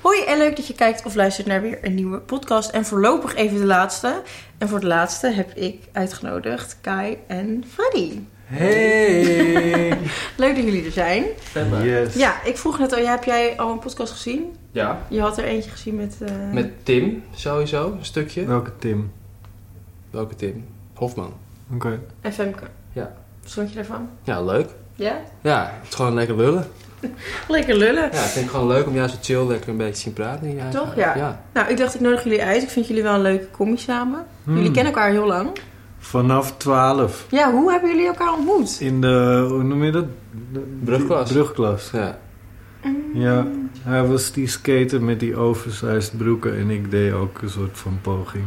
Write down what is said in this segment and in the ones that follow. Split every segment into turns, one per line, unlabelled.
Hoi en leuk dat je kijkt of luistert naar weer een nieuwe podcast. En voorlopig even de laatste. En voor de laatste heb ik uitgenodigd Kai en Freddy.
Hey!
Leuk dat jullie er zijn.
yes.
Ja, ik vroeg net al, ja, heb jij al een podcast gezien?
Ja,
Je had er eentje gezien met... eh,
met Tim sowieso, een stukje.
Welke Tim?
Welke Tim? Hofman.
Oké.
FMK.
Ja.
Wat vond je daarvan?
Ja, leuk.
Ja?
Ja, het is gewoon lekker lullen.
Lekker lullen.
Ja, ik vind het gewoon leuk om juist zo chill lekker een beetje te zien praten. Ja,
Toch? Ja.
Ja.
Nou, ik dacht ik nodig jullie uit. Ik vind jullie wel een leuke combi samen.
Hmm.
Jullie kennen elkaar heel lang.
Vanaf 12.
Ja, hoe hebben jullie elkaar ontmoet?
In de, hoe noem je dat? De-
Brugklas.
Brugklas.
Ja.
Ja, hij was die skater met die oversized broeken en ik deed ook een soort van poging.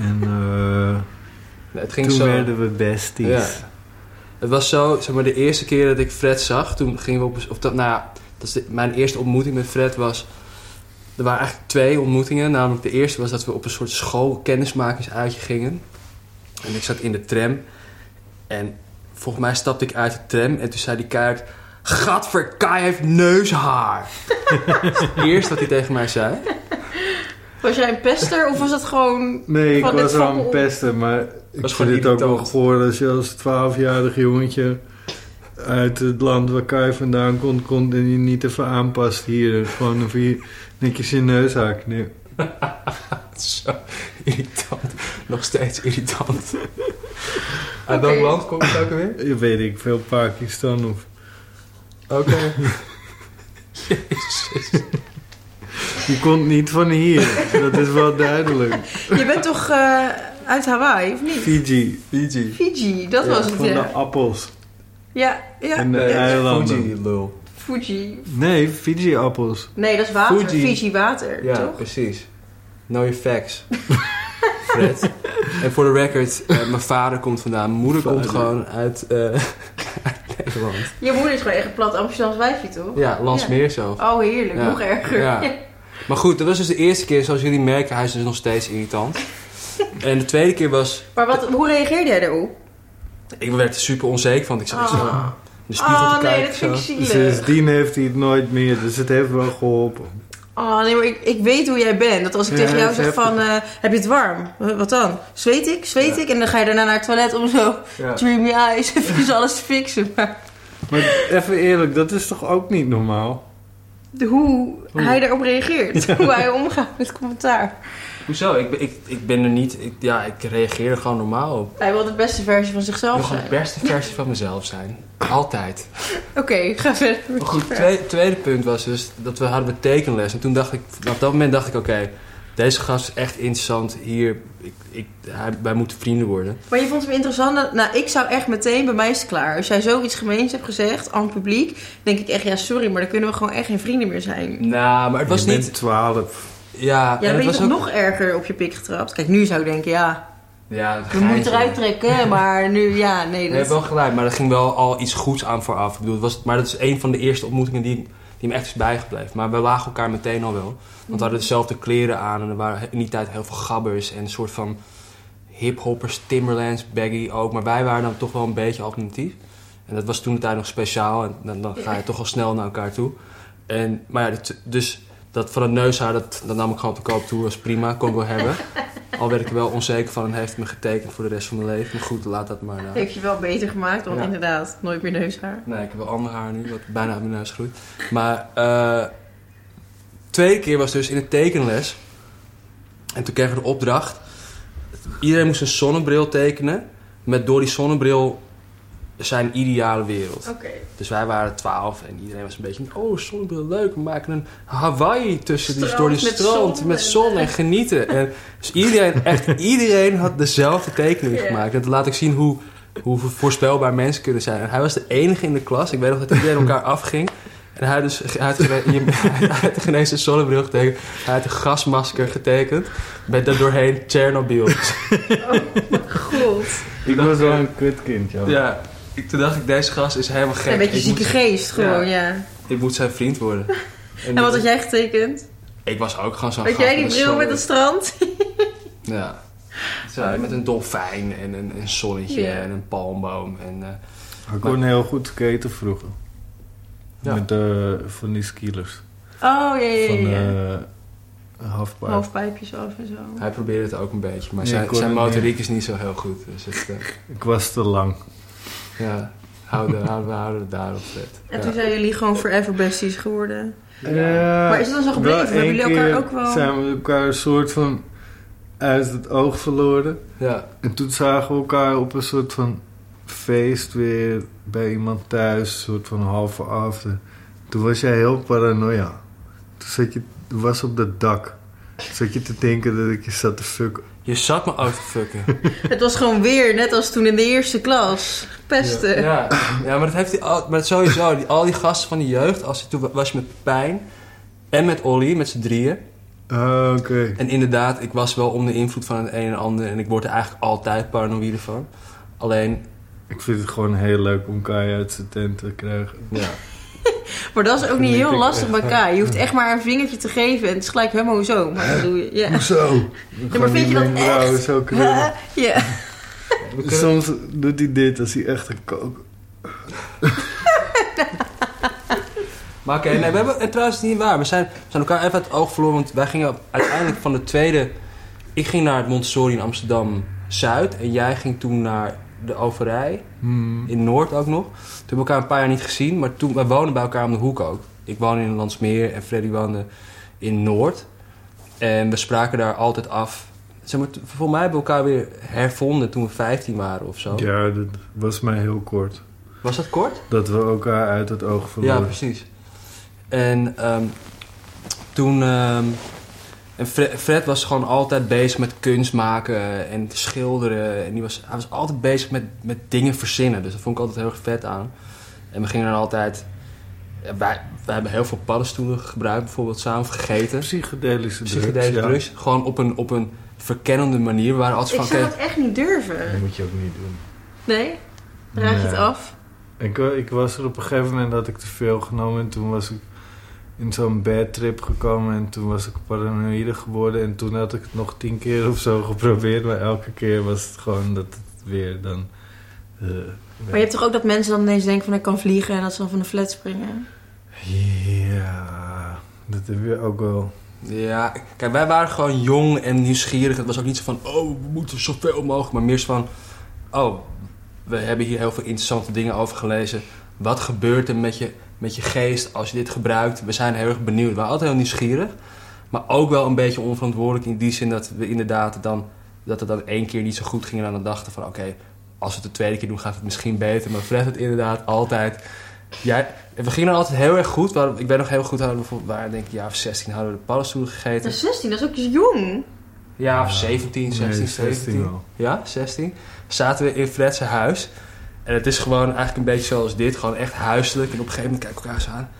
En eh,
Nee, Het ging
toen
zo.
werden we besties.
Ja. Het was zo, zeg maar, de eerste keer dat ik Fred zag, toen gingen we op. Of dat, nou, ja, dat is de- mijn eerste ontmoeting met Fred was. Er waren eigenlijk twee ontmoetingen. Namelijk, de eerste was dat we op een soort school kennismakingsuitje gingen. En ik zat in de tram. En volgens mij stapte ik uit de tram en toen zei die keihard... Gadver, Kai heeft neushaar. Dat is het eerste wat hij tegen mij zei.
Was jij een pester of was dat gewoon...
Nee, ik
Van dit
was al een
vak-
pester, maar ik
Was
vind
gewoon
dit ook wel
irritant.
gehoord als je als 12-jarig jongetje uit het land waar Kai vandaan komt, komt en je niet even aanpast hier. Gewoon een vier, netjes je neus haak. Nee.
Zo irritant. Nog steeds irritant. Uit
Oké.
welk land komt het ook alweer?
Weet ik veel, Pakistan of...
Oké.
Je komt niet van hier, dat is wel duidelijk.
Je bent toch eh, uit Hawaii, of niet?
Fiji,
Fiji.
Fiji, dat
Ja,
was het,
van de
hè?
appels
Ja, ja.
en de eilanden.
Fuji, lul.
Fuji.
Nee, Fiji-appels.
Nee, dat is water. Fiji,
Fuji.
water,
Ja,
toch?
precies. Know your facts. Fred. En voor de record, eh, mijn vader komt vandaan. Mijn moeder komt
Vader.
gewoon uit, eh, uit Nederland.
Je moeder is gewoon echt een plat Amsterdams wijfje, toch?
Ja, Landsmeer zo.
Oh, heerlijk.
Ja.
Nog erger.
Ja. Maar goed, dat was dus de eerste keer. Zoals jullie merken, hij is dus nog steeds irritant. En de tweede keer was...
Maar wat, hoe reageerde jij daarop?
Ik werd er super onzeker van. Ik zat zo
Ah.
in de spiegel
Ah,
te kijken.
nee, dat vind ik
zo. Dus-
zielig.
Sindsdien heeft hij het nooit meer, dus het heeft wel geholpen.
Oh, nee, maar ik, ik weet hoe jij bent. Dat als ik
Ja,
tegen jou
dat
zeg
heb
van, eh, heb je het warm? Eh, Wat dan? Zweet ik? Zweet
Ja.
ik? En dan ga je daarna naar het toilet om zo
Ja.
dreamy eyes even alles te fixen. Maar
Maar even eerlijk, dat is toch ook niet normaal?
de- hoe hij daarop reageert. Hoe hij omgaat met commentaar.
Hoezo? Ik, ben- ik, ik ben er niet... Ik, ja, ik reageer er gewoon normaal op.
Hij wil de beste versie van
Ik
zichzelf
wil gewoon de
zijn.
beste versie van mezelf zijn. Altijd.
Oké, ga verder. met je
Maar goed,
verhaal.
tweede, tweede punt was dus dat we hadden we tekenles. En toen dacht ik... Op dat moment dacht ik, oké... deze gast is echt interessant. Hier... Ik, ik, hij- wij moeten vrienden worden.
Maar je vond hem interessant. Nou, ik zou echt meteen, bij mij is het klaar. Als jij zoiets gemeens hebt gezegd aan het publiek, denk ik echt, ja, sorry, maar dan kunnen we gewoon echt geen vrienden meer zijn.
Nou, maar het was
je
niet...
bent 12.
Ja,
Ja,
en
dan
het
ben je
was
toch
ook...
nog erger op je pik getrapt. Kijk, nu zou ik denken, ja,
Ja,
we moeten eruit trekken, maar nu, ja, nee.
Je hebt
Dat...
wel gelijk, maar er ging wel al iets goeds aan vooraf. Ik bedoel, het was, maar dat is een van de eerste ontmoetingen die, die me echt is bijgebleven. Maar we lagen elkaar meteen al wel.
Mhm.
Want we hadden dezelfde kleren aan en er waren in die tijd heel veel gabbers en een soort van hiphoppers, Timberlands, baggy ook. Maar wij waren dan toch wel een beetje alternatief. En dat was toen de tijd nog speciaal en dan, dan ga je toch al snel naar elkaar toe. En, maar ja, dat- dus dat van het neushaar, dat, dat nam ik gewoon op de koop toe, was prima, kon ik wel hebben. Al werd ik er wel onzeker van en heeft me getekend voor de rest van mijn leven. Maar goed, laat dat maar. eh,
Heeft je wel beter gemaakt, want
Ja.
inderdaad, nooit meer neushaar.
Nee, ik heb wel ander haar nu, wat bijna uit mijn neus groeit. Maar eh tweede keer was dus in de tekenles. En toen kregen we de opdracht. Iedereen moest een zonnebril tekenen. Met door die zonnebril zijn ideale wereld.
Oké.
Dus wij waren twaalf en iedereen was een beetje... Oh, zonnebril, leuk. We maken een Hawaii tussen die
Strand
door die
met
strand.
zon
Met
en-
zon en genieten. En dus iedereen, echt iedereen had dezelfde tekening
Ja.
gemaakt. Dat laat ik zien hoe, hoe voorspelbaar mensen kunnen zijn. En hij was de enige in de klas. Ik weet nog dat iedereen elkaar afging. En hij, dus, hij had gene- je- hij had geen eens een zonnebril getekend. Hij had een gasmasker getekend. Met daardoorheen Tsjernobyl.
Goed.
Ik
dacht,
was wel
eh,
een kutkind, joh.
Ja, ik, toen dacht ik, deze gast is helemaal gek.
Een beetje
ik,
zieke
moet,
geest gewoon, ja.
ik moet zijn vriend worden.
En wat had jij getekend?
Ik was ook gewoon zo'n
Had
gast
jij die
een
bril met
zonnetje.
het strand?
Ja. Zo, met een dolfijn en een, een zonnetje
Ja.
en een palmboom. En, eh,
Ik kon heel goed skaten vroeger.
Ja.
Met eh, van die skillers.
Oh, ja, ja,
Van eh,
ja, ja.
eh,
halfpijp.
hoofdpijpjes af en zo.
Hij probeerde het ook een beetje, maar
Ja, ik
zijn,
hoor
zijn
het
motoriek is niet zo heel goed. Dus het, eh,
Ik was te lang.
ja, houden, houden, we houden het daarop vet.
En
Ja.
toen zijn jullie gewoon forever besties geworden.
Eh,
Maar is het dan zo gebleven?
wel
Hebben
één
jullie elkaar
keer
ook wel-
zijn we elkaar een soort van uit het oog verloren.
Ja,
En toen zagen we elkaar op een soort van feest weer bij iemand thuis. Een soort van halve after. Toen was jij heel paranoia. Toen zat je, toen was op dat dak. Toen zat je te denken dat ik je zat te fucken.
je zat me ook te fucken.
Het was gewoon weer, net als toen in de eerste klas. Pesten.
Ja, ja maar dat heeft hij al, maar sowieso, die, al die gasten van die jeugd, als, toen was je met Pijn en met Olly, met z'n drieën.
Ah, oké.
En inderdaad, ik was wel onder invloed van het een en ander en ik word er eigenlijk altijd paranoïde van. Alleen,
Ik vind het gewoon heel leuk om Kai uit zijn tent te krijgen.
ja.
Maar dat is ook niet
Vind
heel
ik
lastig bij
echt, ja.
Kai. Je hoeft echt maar een vingertje te geven en het is gelijk helemaal zo. Maar dat doe je. Ja.
Hoezo? Gewoon
vind
die
je dat
wenkbrauwen
echt?
zo
Huh?
krullen.
Ja.
We kunnen-
Soms doet hij dit als hij echt een kook.
Maar oké, nee, we hebben, en trouwens, het is niet waar. We zijn, we zijn elkaar even uit het oog verloren, want wij gingen op- uiteindelijk van de tweede... Ik ging naar het Montessori in Amsterdam-Zuid en jij ging toen naar de Overij,
Hmm.
in Noord ook nog. Toen hebben we elkaar een paar jaar niet gezien, maar toen, wij woonden bij elkaar om de hoek ook. Ik woonde in Landsmeer en Freddy woonde in Noord. En we spraken daar altijd af. Zeg maar, t- voor mij hebben we elkaar weer hervonden toen we 15 waren of zo.
Ja, dat was mij heel kort.
Was dat kort?
Dat we elkaar uit het oog
Ja,
verloren.
precies. En ehm, toen. ehm, en Fre- Fred, was gewoon altijd bezig met kunst maken en schilderen. En die was, hij was altijd bezig met, met dingen verzinnen. Dus dat vond ik altijd heel erg vet aan. En we gingen dan altijd. ja, Wij, wij hebben heel veel paddenstoelen gebruikt, bijvoorbeeld samen of gegeten.
Psychedelische drugs.
Psychedelische
ja.
drugs. Gewoon op een, op een verkennende manier. We waren altijd
Ik
van.
zou
oké,
dat echt niet durven.
Dat moet je ook niet doen.
Nee? Raak je het
Nee.
af?
Ik, eh, ik was er op een gegeven moment had ik te veel genomen. En toen was ik in zo'n bad trip gekomen. En toen was ik paranoïde geworden. En toen had ik het nog tien keer of zo geprobeerd. Maar elke keer was het gewoon dat het weer dan... eh,
Maar je hebt toch ook dat mensen dan ineens denken van ik kan vliegen en dat ze dan van de flat springen?
Ja, dat heb je ook wel.
Ja, kijk, wij waren gewoon jong en nieuwsgierig. Het was ook niet zo van, oh, we moeten zoveel mogelijk. Maar meer zo van, oh, we hebben hier heel veel interessante dingen over gelezen. Wat gebeurt er met je, met je geest als je dit gebruikt? We zijn heel erg benieuwd. We waren altijd heel nieuwsgierig. Maar ook wel een beetje onverantwoordelijk in die zin dat we inderdaad dan... Dat het dan één keer niet zo goed ging en dan dachten van, oké, als we het de tweede keer doen gaat het misschien beter. Maar Fred het inderdaad altijd... Jij, we gingen dan altijd heel erg goed. We hadden- ik weet nog heel goed, hadden we bijvoorbeeld, waren denk ik een jaar of 16 hadden we de paddenstoelen
Dat
gegeten.
is 16, dat is ook jong.
Ja, of
Ja.
17, 16,
Nee,
17.
wel.
Ja, 16. Zaten we in Fred zijn huis. En het is gewoon eigenlijk een beetje zoals dit. Gewoon echt huiselijk. En op een gegeven moment kijken we elkaar eens aan.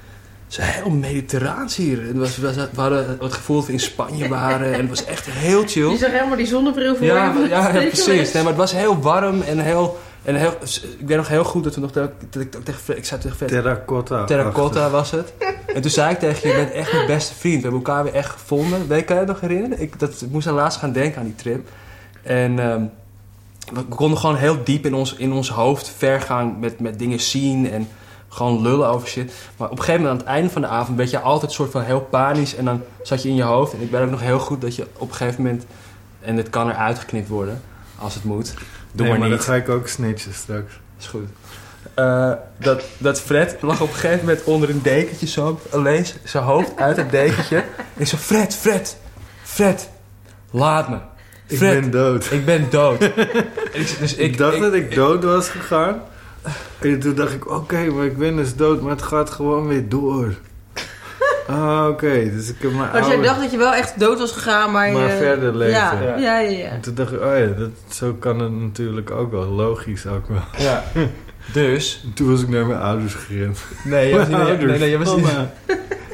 Het is heel mediterraans hier. En Het was, was- we hadden het gevoel dat we in Spanje waren. En het was echt heel chill.
Je zag helemaal die zonnebril voor
Ja,
je. dus-
maar- ja, ja, precies. Nee, maar het was heel warm en heel... En heel ik weet nog heel goed dat we nog... Dat ik, dat ik tegen Fred- ik zei tegen Fred...
Terracotta.
Terracotta was het. En toen zei ik tegen je, je bent echt mijn beste vriend. We hebben elkaar weer echt gevonden. Weet je, kan je het nog herinneren? Ik, dat, ik moest aan laatst gaan denken aan die trip. En ehm, we we konden gewoon heel diep in ons, in ons hoofd ver gaan met, met dingen zien en gewoon lullen over shit. Maar op een gegeven moment aan het einde van de avond werd je altijd soort van heel panisch. En dan zat je in je hoofd. En ik ben ook nog heel goed dat je op een gegeven moment... En dit kan eruit geknipt worden, als het moet. Doe
Nee,
maar,
maar
niet.
dan ga ik ook snitchen straks.
Is goed. Eh, dat, dat Fred lag op een gegeven moment onder een dekentje zo. Alleen z- zijn hoofd uit het dekentje. Ik zo, Fred, Fred, Fred, laat me.
Ik
Fred,
ben dood.
ik ben dood. En ik, dus
Ik,
ik,
dacht
ik-
dat ik dood was gegaan. En toen dacht ik, oké, maar ik ben dus dood, maar het gaat gewoon weer door. Ah, oké, dus ik heb mijn
Maar dus jij
oude-
dacht dat je wel echt dood was gegaan, maar,
Maar
je...
verder leefde.
Ja, ja, ja.
Ja.
ja,
En toen dacht ik, oh ja, dat, zo kan het natuurlijk ook wel. Logisch ook wel.
Ja. Dus,
En toen was ik naar mijn ouders gerend.
nee, jij was
Mijn
niet, nee,
ouders, Oh,
nee, jij was niet,
mama.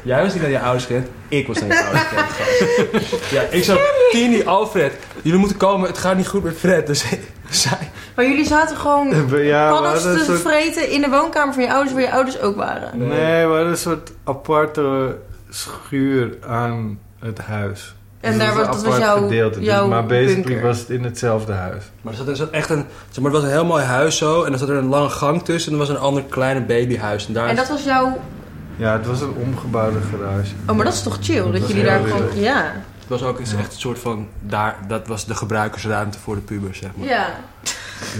jij was niet naar je ouders gerend. Ik was naar je ouders gerend. gast. Ja, ik zo, Tini, Alfred, jullie moeten komen. Het gaat niet goed met Fred. Dus zij,
Maar jullie zaten gewoon
We- Ja, we
pannen
hadden
te
een soort...
vreten in de woonkamer van je ouders, waar je ouders ook waren.
Nee.
Nee, we hadden een soort aparte schuur aan het huis. Dus
En daar was, dat was
apart
jouw,
gedeelte. Dus-
jouw
maar basically
bunker.
was het in hetzelfde huis.
Maar er zat, er zat echt een, zeg maar, het was een heel mooi huis zo. En er zat er een lange gang tussen. En er was een ander kleine babyhuis. En daar
En dat was jouw...
Ja, het was een omgebouwde garage.
Oh, maar dat is toch chill, dat,
was
jullie
heel
daar gewoon...
leuk.
Ja.
het was ook eens
Ja.
echt een soort van... Daar, dat was de gebruikersruimte voor de pubers, zeg maar.
Ja.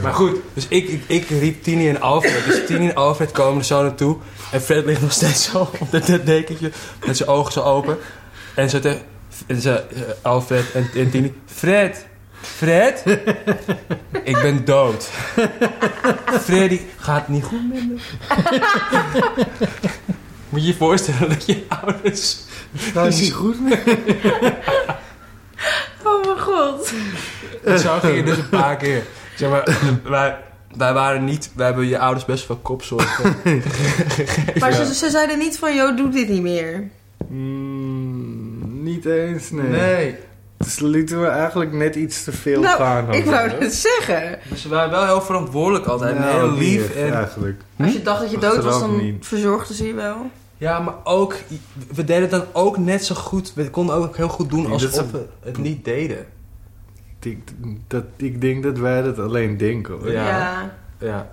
Maar goed, dus ik, ik, ik riep Tini en Alfred. Dus Tini en Alfred komen er zo naartoe. En Fred ligt nog steeds zo op dat dat dekentje. Met zijn ogen zo open. En zo tegen en zo, eh, Alfred en, en Tini. Fred! Fred! ik ben dood. Freddy gaat niet goed met me. Moet je je voorstellen dat je ouders...
Dat is niet goed meer.
Oh mijn god.
En zo ging het dus een paar keer. Zeg maar, wij, wij waren niet... Wij hebben je ouders best wel kopzorgen.
Maar ze, ze zeiden niet van, joh, doe dit niet meer.
Mm, niet eens, nee.
nee.
Ze lieten we eigenlijk net iets te veel
Nou,
gaan.
Ik
over,
wou
hè?
het zeggen.
Maar Dus Ze waren wel heel verantwoordelijk altijd. en
Nou,
heel lief.
hier,
en, ja.
Eigenlijk.
Hm?
Als je dacht dat je dood was,
Achteraf
dan
niet.
verzorgden ze je wel.
maar ook... We deden het dan ook net zo goed. We konden ook heel goed doen
Ja,
alsof
dat is-
we het niet deden.
Ik, dat, ik denk dat wij dat alleen denken hoor.
Ja.
Ja.
Ja.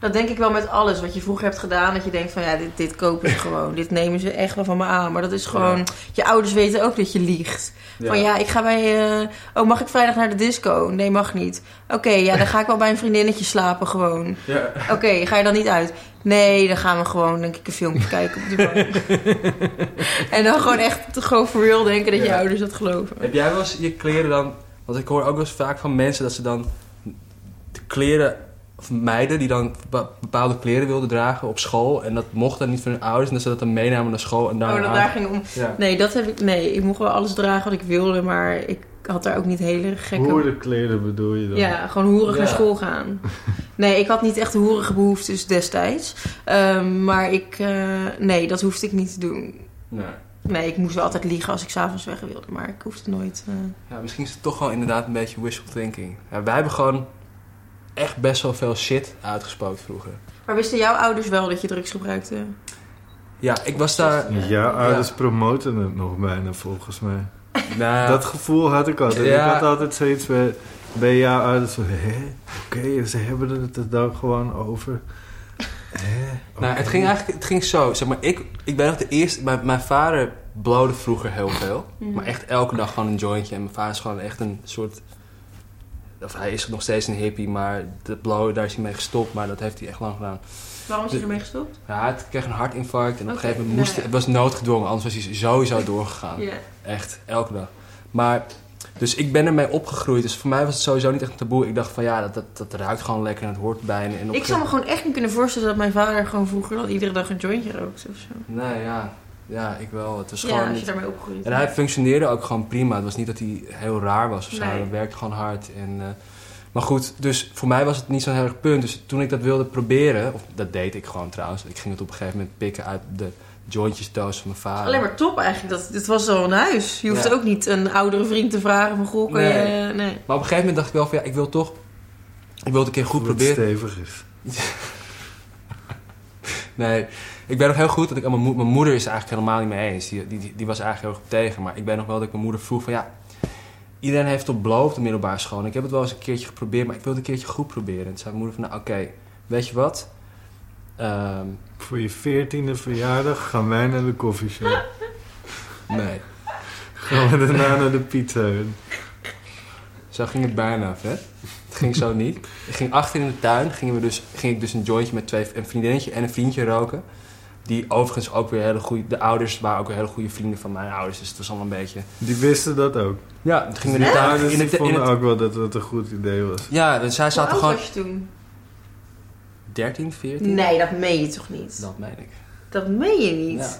Dat denk ik wel met alles wat je vroeger hebt gedaan. Dat je denkt van, ja, dit, dit kopen ze gewoon. Dit nemen ze echt wel van me aan. Maar dat is gewoon... Je ouders weten ook dat je liegt. Van ja, ik ga bij... eh, oh, mag ik vrijdag naar de disco? Nee, mag niet. Oké, ja, dan ga ik wel bij een vriendinnetje slapen gewoon.
Ja.
Oké, ga je dan niet uit? Nee, dan gaan we gewoon, denk ik, een filmpje kijken op de bank. en dan gewoon echt gewoon for real denken dat je
Ja.
ouders dat geloven.
Heb jij wel eens je kleren dan... Want ik hoor ook wel eens vaak van mensen dat ze dan... De kleren... Of meiden die dan bepa- bepaalde kleren wilden dragen op school. En dat mocht dan niet van hun ouders. En dat ze dat dan meenamen naar school. En daar
oh, dat daar ging om.
Nou, Ja.
Nee, dat heb ik... Nee, ik mocht wel alles dragen wat ik wilde, maar ik had daar ook niet hele gekke...
Hoerenkleren bedoel je dan?
Ja, gewoon hoerig
Ja.
naar school gaan. Nee, ik had niet echt hoerige behoeftes destijds. Ehm, maar ik... eh, nee, dat hoefde ik niet te doen.
Nee.
Nee, ik moest wel altijd liegen als ik s'avonds weg wilde. Maar ik hoefde nooit... eh,
Ja, misschien is het toch wel inderdaad een beetje wishful thinking. Ja, wij hebben gewoon echt best wel veel shit uitgespookt vroeger.
Maar wisten jouw ouders wel dat je drugs gebruikte?
Ja, ik was daar...
Ja, jouw ouders promoten het nog bijna volgens mij.
Nou,
Dat gevoel had ik altijd.
Ja.
Ik had altijd zoiets bij, bij jouw ouders van... Hé, oké, ze hebben het er dan gewoon over. Hè?
nou, het ging eigenlijk het ging zo. Zeg maar, ik, ik ben nog de eerste... Mijn, mijn vader blode vroeger heel veel. Maar echt elke dag gewoon een jointje. En mijn vader is gewoon echt een soort... Of hij is nog steeds een hippie, maar dat blowen, daar is hij mee gestopt. Maar dat heeft hij echt lang gedaan.
Waarom is je ermee gestopt?
Ja, hij kreeg een hartinfarct en op een
Oké,
gegeven moment moest...
nou ja.
Het was noodgedwongen, anders was hij sowieso doorgegaan.
Ja.
Echt, elke dag. Maar, dus ik ben ermee opgegroeid. Dus voor mij was het sowieso niet echt een taboe. Ik dacht van ja, dat, dat, dat ruikt gewoon lekker en het hoort bij. En, en op
Ik zou me gewoon echt niet kunnen voorstellen dat mijn vader gewoon vroeger al iedere dag een jointje rookte of zo.
Nee, ja. Ja, ik wel. Het was
Ja,
gewoon...
als je daarmee opgroeit.
En hij functioneerde ook gewoon prima. Het was niet dat hij heel raar was of zo.
Nee.
Hij werkte gewoon hard. En, eh, maar goed, dus voor mij was het niet zo'n heel erg punt. Dus toen ik dat wilde proberen... Of dat deed ik gewoon trouwens. Ik ging het op een gegeven moment pikken uit de jointjes doos van mijn vader.
Alleen maar top eigenlijk. Dat, dit was al een huis. Je hoeft
Ja.
ook niet een oudere vriend te vragen van goh, kan
Nee.
je... Nee.
Maar op een gegeven moment dacht ik wel van ja, ik wil toch... Ik wil het een keer goed
Hoe het
proberen.
stevig is.
Nee, ik ben nog heel goed dat ik aan mijn, moe- mijn moeder is er eigenlijk helemaal niet mee eens. Die, die, die- die was eigenlijk heel erg op tegen. Maar ik ben nog wel dat ik mijn moeder vroeg van ja, iedereen heeft op bloof de middelbare school. En ik heb het wel eens een keertje geprobeerd, maar ik wil het een keertje goed proberen. En toen zei mijn moeder van nou oké, weet je wat? Ehm,
Voor je veertiende verjaardag gaan wij naar de koffieshop.
nee,
gaan we daarna naar de pizza Hut.
zo ging het bijna af hè. Het ging zo niet. Ik ging achter in de tuin, gingen we dus, ging ik dus een jointje met twee, een vriendinnetje en een vriendje roken. Die overigens ook weer hele goede, de ouders waren ook weer hele goede vrienden van mijn ouders. Dus het was allemaal een beetje...
Die wisten dat ook.
Ja, toen gingen we in
Die
de tuin.
ouders
in de- in
vonden
de-
dus ook wel dat het een goed idee was.
Ja, dus zij
Hoe
zaten
oud
gewoon
was je toen?
13, 14.
Nee, dat meen je toch niet?
Dat meen ik.
Dat meen je niet?
Ja.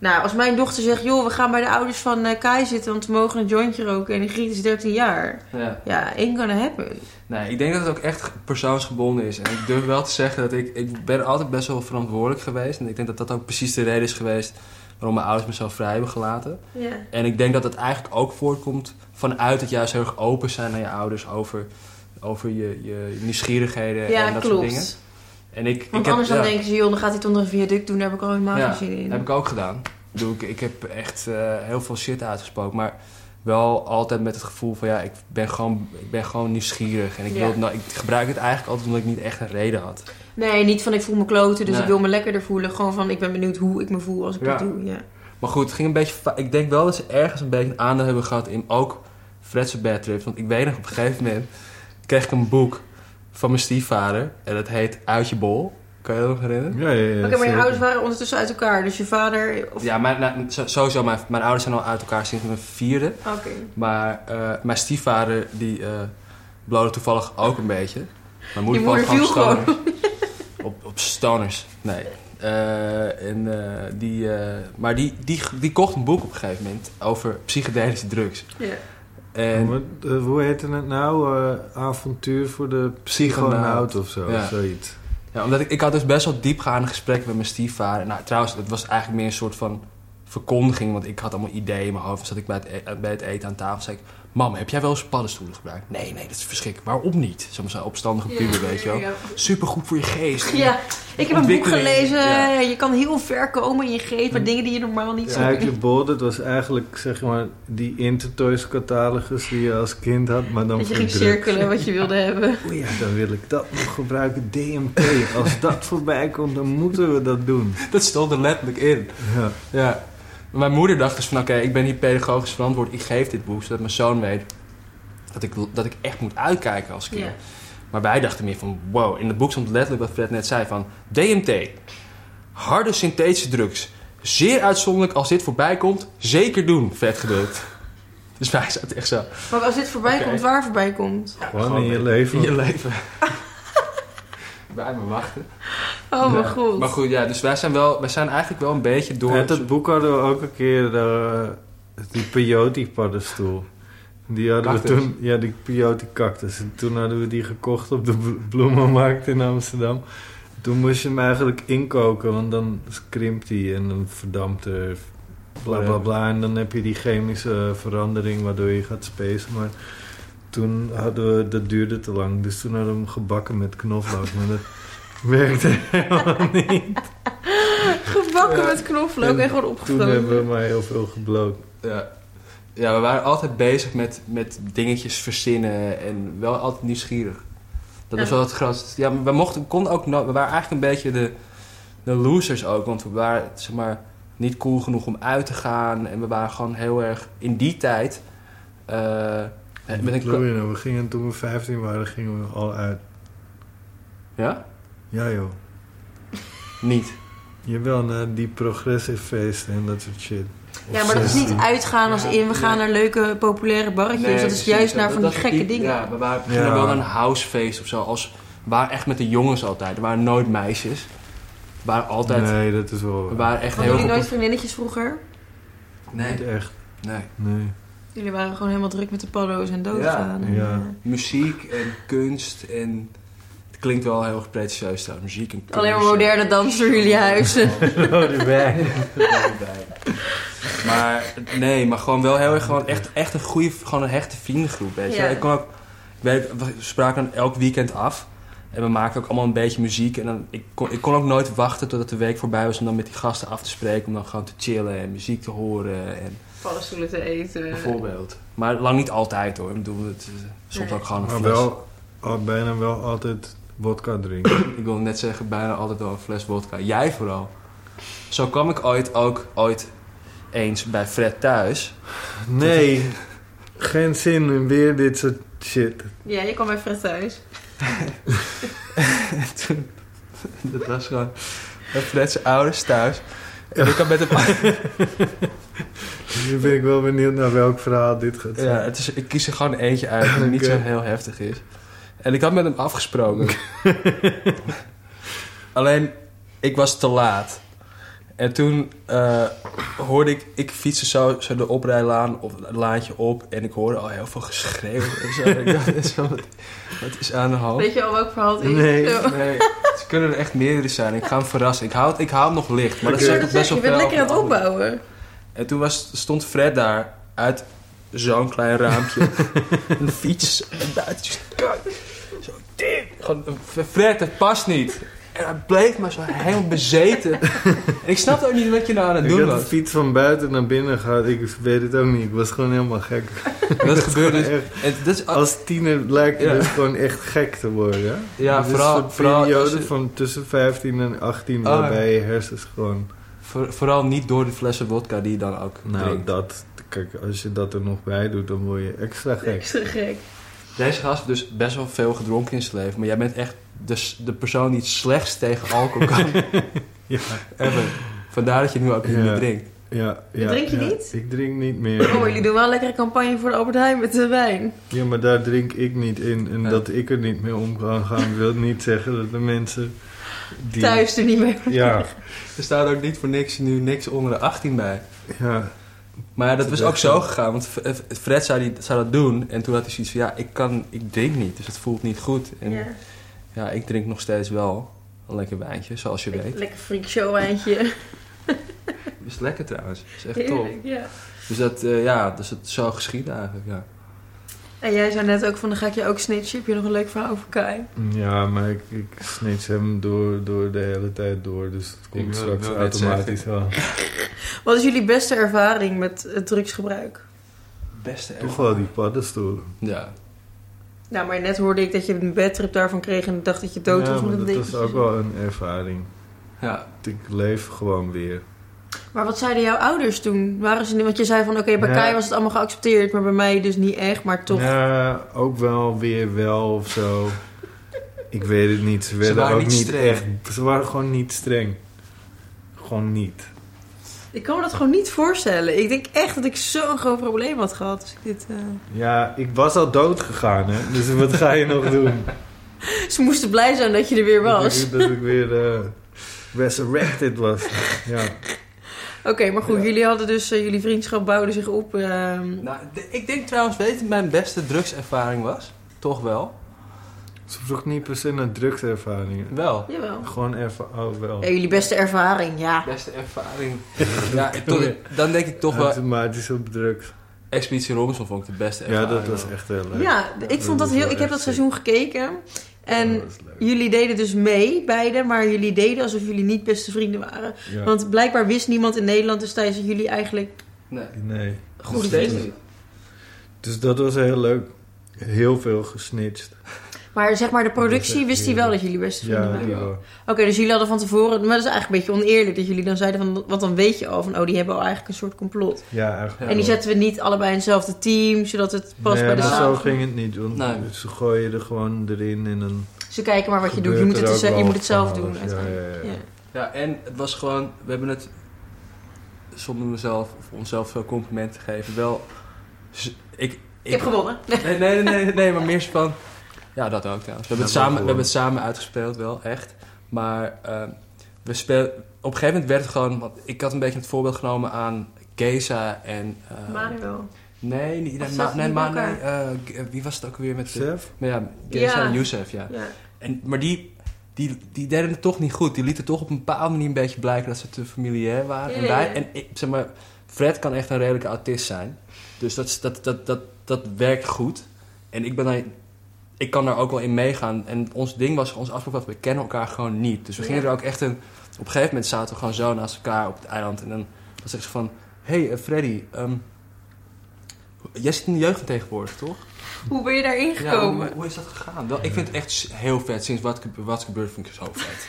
Nou, als mijn dochter zegt, joh, we gaan bij de ouders van eh, Kai zitten, want we mogen een jointje roken en die Griet is 13 jaar.
Ja.
Ja, ain't gonna happen.
Nee, ik denk dat het ook echt persoonsgebonden is. En ik durf wel te zeggen dat ik... Ik ben altijd best wel verantwoordelijk geweest. En ik denk dat dat ook precies de reden is geweest... waarom mijn ouders me zo vrij hebben gelaten.
Ja.
En ik denk dat dat eigenlijk ook voortkomt... vanuit het juist heel erg open zijn naar je ouders... over, over je, je nieuwsgierigheden
Ja,
en dat soort dingen.
klopt.
En ik,
Want
ik
anders
heb,
dan
ja,
denken ze, joh, dan gaat hij het onder een viaduct doen, daar heb ik al helemaal
Ja,
geen zin in.
heb ik ook gedaan. Ik bedoel, Ik, ik heb echt eh, heel veel shit uitgesproken. Maar wel altijd met het gevoel van ja, ik ben gewoon, ik ben gewoon nieuwsgierig. En ik,
Ja.
wil het nou, ik gebruik het eigenlijk altijd omdat ik niet echt een reden had.
Nee, niet van ik voel me kloten, dus
Nee.
ik wil me lekkerder voelen. Gewoon van ik ben benieuwd hoe ik me voel als ik
Ja.
dat doe. Ja.
Maar goed, het ging een beetje. fa- Ik denk wel dat ze ergens een beetje aandeel hebben gehad in ook Fred's bad trips. Want ik weet nog, op een gegeven moment kreeg ik een boek van mijn stiefvader. En dat heet Uit je bol. Kan je dat nog herinneren?
Ja, ja, ja.
Oké, maar je
zeker.
ouders waren ondertussen uit elkaar. Dus je vader... Of...
Ja, mijn, nou, zo- sowieso, mijn, mijn ouders zijn al uit elkaar sinds mijn vierde.
Oké.
Maar eh, mijn stiefvader, die eh blode toevallig ook een beetje. Mijn
Je
moeder,
moeder
valt
viel
gewoon stoners. op, op stoners, nee. Eh, en, eh, die, eh, maar die, die, die kocht een boek op een gegeven moment over psychedelische drugs.
Ja.
Ja,
En
maar, eh, hoe heette het nou? Eh, avontuur voor de psychonaut of zo.
Ja.
Zoiets.
ja, omdat ik, ik had dus best wel diepgaande gesprekken met mijn stiefvader. Nou, trouwens, het was eigenlijk meer een soort van verkondiging. Want ik had allemaal ideeën in mijn hoofd. Dan zat ik bij het, e- bij het eten aan tafel. zei ik, mam, heb jij wel eens paddenstoelen gebruikt? Nee, nee, dat is verschrikkelijk. Waarom niet? Zo'n zo'n opstandige puber, weet je wel.
Ja.
Supergoed voor je geest.
Ja, ik heb een boek
Ontwikkeling,
gelezen.
ja.
Je kan heel ver komen in je geest met dingen die je normaal niet zou
Eigenlijk
doen.
je bol, dat was eigenlijk zeg maar die Intertoys catalogus die je als kind had, maar dan
Dat je ging
voor drugs.
cirkelen wat je wilde hebben.
O ja, dan wil ik dat nog gebruiken. DMT. Als dat voorbij komt, dan moeten we dat doen.
Dat stond er letterlijk in.
Ja.
Ja. Maar Mijn moeder dacht dus van, oké, ik ben hier pedagogisch verantwoord. Ik geef dit boek, zodat mijn zoon weet dat ik, dat ik echt moet uitkijken als kind.
Ja.
Maar wij dachten meer van, wow. In het boek stond letterlijk wat Fred net zei van... DMT, harde synthetische drugs. Zeer uitzonderlijk als dit voorbij komt. Zeker doen, vet geduld. Dus wij zaten echt zo.
Maar als dit voorbij
Oké.
komt, waar voorbij komt.
Gewoon in je leven.
In je leven. Bij me wachten.
Oh, mijn
Ja.
god.
Maar goed, ja, dus wij zijn, wel, wij zijn eigenlijk wel een beetje door...
Met dat boek hadden we ook een keer eh, die peyote paddenstoel. Die hadden
Cactus.
we toen, ja, die peyote cactus. En toen hadden we die gekocht op de bl- bloemenmarkt in Amsterdam. Toen moest je hem eigenlijk inkoken, want dan krimpt hij en dan verdampt er bla bla bla. En dan heb je die chemische verandering waardoor je gaat spacen. Maar toen hadden we, dat duurde te lang, dus toen hadden we hem gebakken met knoflook. Maar dat werkte helemaal niet.
Gebakken
Ja.
met knoflook en
En
gewoon
Toen hebben we
opgevroten.
maar heel veel gebloot.
Ja. ja, we waren altijd bezig met, met dingetjes verzinnen en wel altijd nieuwsgierig. Dat was
Ja.
wel het grootste. Ja, maar we, mochten, we konden ook, no- we waren eigenlijk een beetje de, de losers ook, want we waren zeg maar, niet cool genoeg om uit te gaan. En we waren gewoon heel erg in die tijd. eh, met een, ko-
Bedoel je nou, we gingen toen we 15 waren, gingen we al uit.
ja?
Ja joh.
Niet.
Jawel, naar die progressive feesten en dat soort shit. Of
Ja, maar dat is niet
16.
uitgaan als
Ja,
in we gaan
nee.
naar leuke, populaire barretjes.
Nee,
dat is
precies,
juist
ja,
naar
dat-
van
dat
die
is
gekke dingen.
Ja, we waren, we
Ja.
gingen wel naar een housefeest of zo. Als, we waren echt met de jongens altijd. Er waren nooit meisjes. We waren altijd...
Nee, dat is wel...
We waren echt
Hadden
heel...
jullie nooit
goed-
vriendinnetjes vroeger?
Niet
Nee,
echt,
nee.
nee.
Jullie waren gewoon helemaal druk met de paddo's en doodgaan.
Ja.
en,
Ja.
eh,
muziek en kunst en... Het klinkt wel heel erg pretentieus trouwens, muziek en kunst.
eh, Alleen maar moderne dansen door jullie huizen.
Oh,
Rode wijn.
maar nee, maar gewoon wel heel erg gewoon echt, echt een goede, gewoon een hechte vriendengroep. Weet je.
Ja.
wel. Ik kon ook, ik weet, we spraken dan elk weekend af en we maakten ook allemaal een beetje muziek. En dan, ik, kon, ik kon ook nooit wachten totdat de week voorbij was om dan met die gasten af te spreken. Om dan gewoon te chillen en muziek te horen. En,
Paddenstoelen te eten.
bijvoorbeeld. Maar lang niet altijd hoor. Ik bedoel, het is soms
Nee.
ook gewoon een
Maar
fles.
wel, al, bijna wel altijd wodka drinken.
Ik wil net zeggen, bijna altijd wel een fles wodka. Jij vooral. Zo kwam ik ooit ook ooit eens bij Fred thuis.
Nee, geen zin in weer dit soort shit.
Ja, je kwam bij Fred thuis.
En toen, dat was gewoon bij Fred zijn ouders thuis. En ik had met hem...
Nu ben ik wel benieuwd naar welk verhaal dit gaat
Ja,
zijn.
het is, ik kies er gewoon eentje uit die niet
Oké.
zo heel heftig is. En ik had met hem afgesproken. Alleen, ik was te laat. En toen eh, hoorde ik, ik fietste zo, zo de oprijlaan of het laantje op en ik hoorde al heel veel geschreeuw en zo. ik dacht, dit is wel- wat, is aan de hand?
Weet je al welk verhaal het is?
Nee.
Zo.
Oh. Nee, ze kunnen er echt meerdere zijn. Ik ga hem verrassen. Ik hou, het- ik hou hem nog licht, maar dat
Ik
zou
zegt
dat
nog best
zeggen,
wel
je bent
veel
lekker aan het
over-
opbouwen.
en toen was, stond Fred daar uit zo'n klein raampje. een fiets. En buiten. Zo, dit. Gewoon, Fred, het past niet. En hij bleef maar zo helemaal bezeten. en ik snapte ook niet wat je nou aan het
Ik
doen
had de
was.
fiets van buiten naar binnen gehad. Ik weet het ook niet. Ik was gewoon helemaal gek.
Dat gebeurde. dus-
Echt.
En dat is,
Als tiener lijkt het
Ja.
dus gewoon echt gek te worden. hè?
Ja,
Dat is
vooral-
een soort
vooral als
periode
je-
van tussen 15 en 18
Ah.
waarbij je hersens gewoon
Voor- vooral niet door de flessen vodka die je dan ook
Nou,
drinkt.
dat, kijk, als je dat er nog bij doet, dan word je extra gek.
Extra gek.
Deze gast heeft dus best wel veel gedronken in zijn leven. Maar jij bent echt de, s- de persoon die het slechtst tegen alcohol kan.
Ja.
Ever. Vandaar dat je nu ook niet
Ja.
meer drinkt.
Ja, ja,
Drink je
ja.
niet?
Ik drink niet
Oh,
meer.
jullie doen wel een lekkere campagne voor de Albert Heijn met de wijn.
Ja, maar daar drink ik niet in. En
Ja.
dat ik er niet mee om kan gaan, wil niet zeggen dat de mensen... Die,
Thuis er niet meer.
Ja,
Er staat ook niet voor niks nu niks onder de 18 bij.
ja.
Maar dat was
is
ook
echt
zo
zo.
gegaan. Want F- F- Fred zou, die, zou dat doen. En toen had hij zoiets van, ja, ik, kan, ik drink niet. Dus het voelt niet goed. En ja.
Ja.
ik drink nog steeds wel een lekker wijntje, zoals je weet.
Lekker freak show eindje.
Is lekker trouwens. Is echt top.
Heerlijk, ja.
Dus dat, eh, ja, dus het zou geschieden eigenlijk, ja.
En jij zei net ook van, dan ga ik je ook snitchen. Heb je nog een leuk verhaal over Kai?
Ja, maar ik, ik snits hem door, door de hele tijd door. Dus het komt
wil-
straks
wil net
automatisch wel.
Wat is jullie beste ervaring met het drugsgebruik?
Beste
Toch wel die paddenstoelen.
Ja.
Nou, maar net hoorde ik dat je een bedtrip daarvan kreeg en dacht dat je dood
ja,
was
maar
met een
dat was
dingetje.
ook wel een ervaring.
Ja.
Ik leef gewoon weer.
Maar wat zeiden jouw ouders toen? Waren ze niet, want je zei van, oké, bij
Ja.
Kai was het allemaal geaccepteerd, maar bij mij dus niet echt, maar toch.
Ja, ook wel weer wel of zo. ik weet het niet. Ze, werden
waren
ook
niet
niet
streng.
echt. Ze waren gewoon niet streng. Gewoon niet.
Ik kan me dat gewoon niet voorstellen. Ik denk echt dat ik zo'n groot probleem had gehad. Dus ik dit, eh,
Ja, ik was al dood gegaan, hè. Dus wat ga je nog doen?
Ze moesten blij zijn dat je er weer was.
Dat ik, dat ik weer eh, resurrected was. Ja.
Oké, maar goed, jullie hadden dus, eh, jullie vriendschap bouwde zich op. ehm,
Nou, de- ik denk trouwens, weet je wat mijn beste drugservaring was? Toch wel?
Ze vroeg niet per se naar drugservaringen.
Wel.
jawel.
Gewoon even, oh wel.
Ja, jullie beste ervaring, ja.
Beste ervaring. ja, toch- dan denk ik toch wel...
Automatisch op drugs.
Expeditie Robinson vond ik de beste
Ja,
ervaring.
dat was
wel.
echt heel leuk.
Ja, ik vond dat
was
heel.
wel
Ik heb
echt
dat seizoen gekeken. En
Dat was leuk.
jullie deden dus mee, beide. Maar jullie deden alsof jullie niet beste vrienden waren.
Ja.
Want blijkbaar wist niemand in Nederland dus tijdens dat jullie eigenlijk
Nee.
Nee.
Nog
goede
steeds
vrienden
niet.
Dus dat was heel leuk. Heel veel gesnitcht.
Maar zeg maar, de
was
productie
echt
wist hij wel dat jullie beste vrienden
Ja,
waren.
ja.
ja.
Oké, dus jullie hadden van tevoren... Maar dat is eigenlijk een beetje oneerlijk dat jullie dan zeiden van... Want dan weet je al van, oh, die hebben al eigenlijk een soort complot.
ja eigenlijk.
En die
wel.
zetten we niet allebei in hetzelfde team, zodat het past
nee,
bij de
maar
zaal.
zo ging het niet. Want
Nee.
ze gooien er gewoon erin en dan
Ze kijken maar wat je doet. Je
gebeurt
moet het,
er
dus-
ook
je
wel
moet het zelf
van
doen.
alles. Ja, ja, ja.
Ja.
Ja, en het was gewoon... We hebben het, zonder mezelf of onszelf veel complimenten te geven, wel... z- Ik,
Ik heb gewonnen.
Nee, nee, nee, nee, nee, maar meer zo van... Ja, dat ook trouwens. We hebben, het,
Ja,
samen, we
wel gewoon.
hebben het samen uitgespeeld, wel, echt. Maar ehm, we speel, op een gegeven moment werd het gewoon... Want ik had een beetje het voorbeeld genomen aan Geza en... eh,
Manuel.
Nee, niet,
Of
nee,
zat
ma,
het
nee,
niet
maar
bij
nee, eh, G- wie was het ook weer met... de-
Sef?
maar ja, Geza
Ja.
en Youssef, ja.
Ja.
En, maar die, die, die deden het toch niet goed. Die lieten toch op een bepaalde manier een beetje blijken dat ze te familiair waren.
Ja,
en wij,
ja.
en ik, zeg maar, Fred kan echt een redelijke autist zijn. Dus dat, is- dat, dat, dat, dat werkt goed. En ik ben daar, ik kan daar ook wel in meegaan. En ons ding was, ons afspraak was, we kennen elkaar gewoon niet. Dus we gingen
Ja.
er ook echt een... Op een gegeven moment zaten we gewoon zo naast elkaar op het eiland. En dan was ik zo van, hé hey, eh, Freddy, ehm, jij zit in de jeugd tegenwoordig, toch?
Hoe ben je daarin
Ja,
gekomen?
hoe, hoe is dat gegaan? Wel, ik vind het echt s- heel vet. Sinds wat, gebe- wat gebeurt vind ik het zo vet.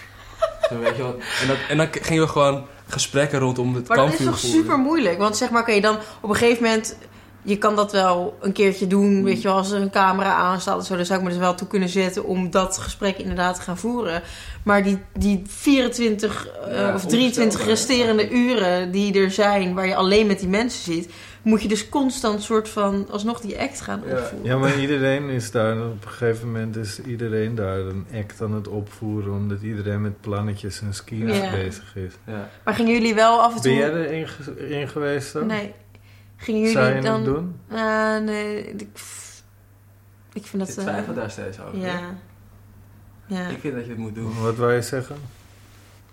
Zo, weet je wel. En, dat, en dan k- gingen we gewoon gesprekken rondom het
Maar dat is
kampvuur
toch
voeren.
super moeilijk? Want zeg maar, oké, dan op een gegeven moment... Je kan dat wel een keertje
Hmm.
doen, weet je wel, als er een camera aan staat of zo. Dan zou ik me dus wel toe kunnen zetten om dat gesprek inderdaad te gaan voeren. Maar die, die 24 eh,
Ja,
of 23
onvoorstelbaar.
resterende uren die er zijn, waar je alleen met die mensen zit... moet je dus constant soort van alsnog die act gaan
Ja.
opvoeren.
Ja, maar iedereen is daar. Op een gegeven moment is iedereen daar een act aan het opvoeren. Omdat iedereen met plannetjes en skis
Ja.
bezig is.
Ja.
Maar gingen jullie wel af en toe...
Ben jij er een, ge- een geweest dan?
Nee. Gingen jullie
Zou je
dan...
het doen?
Eh, nee, ik, ik vind dat...
Ik
eh,
twijfel daar steeds over.
Ja. Ja.
Oh, Ik vind dat je het moet doen.
Wat wou je zeggen?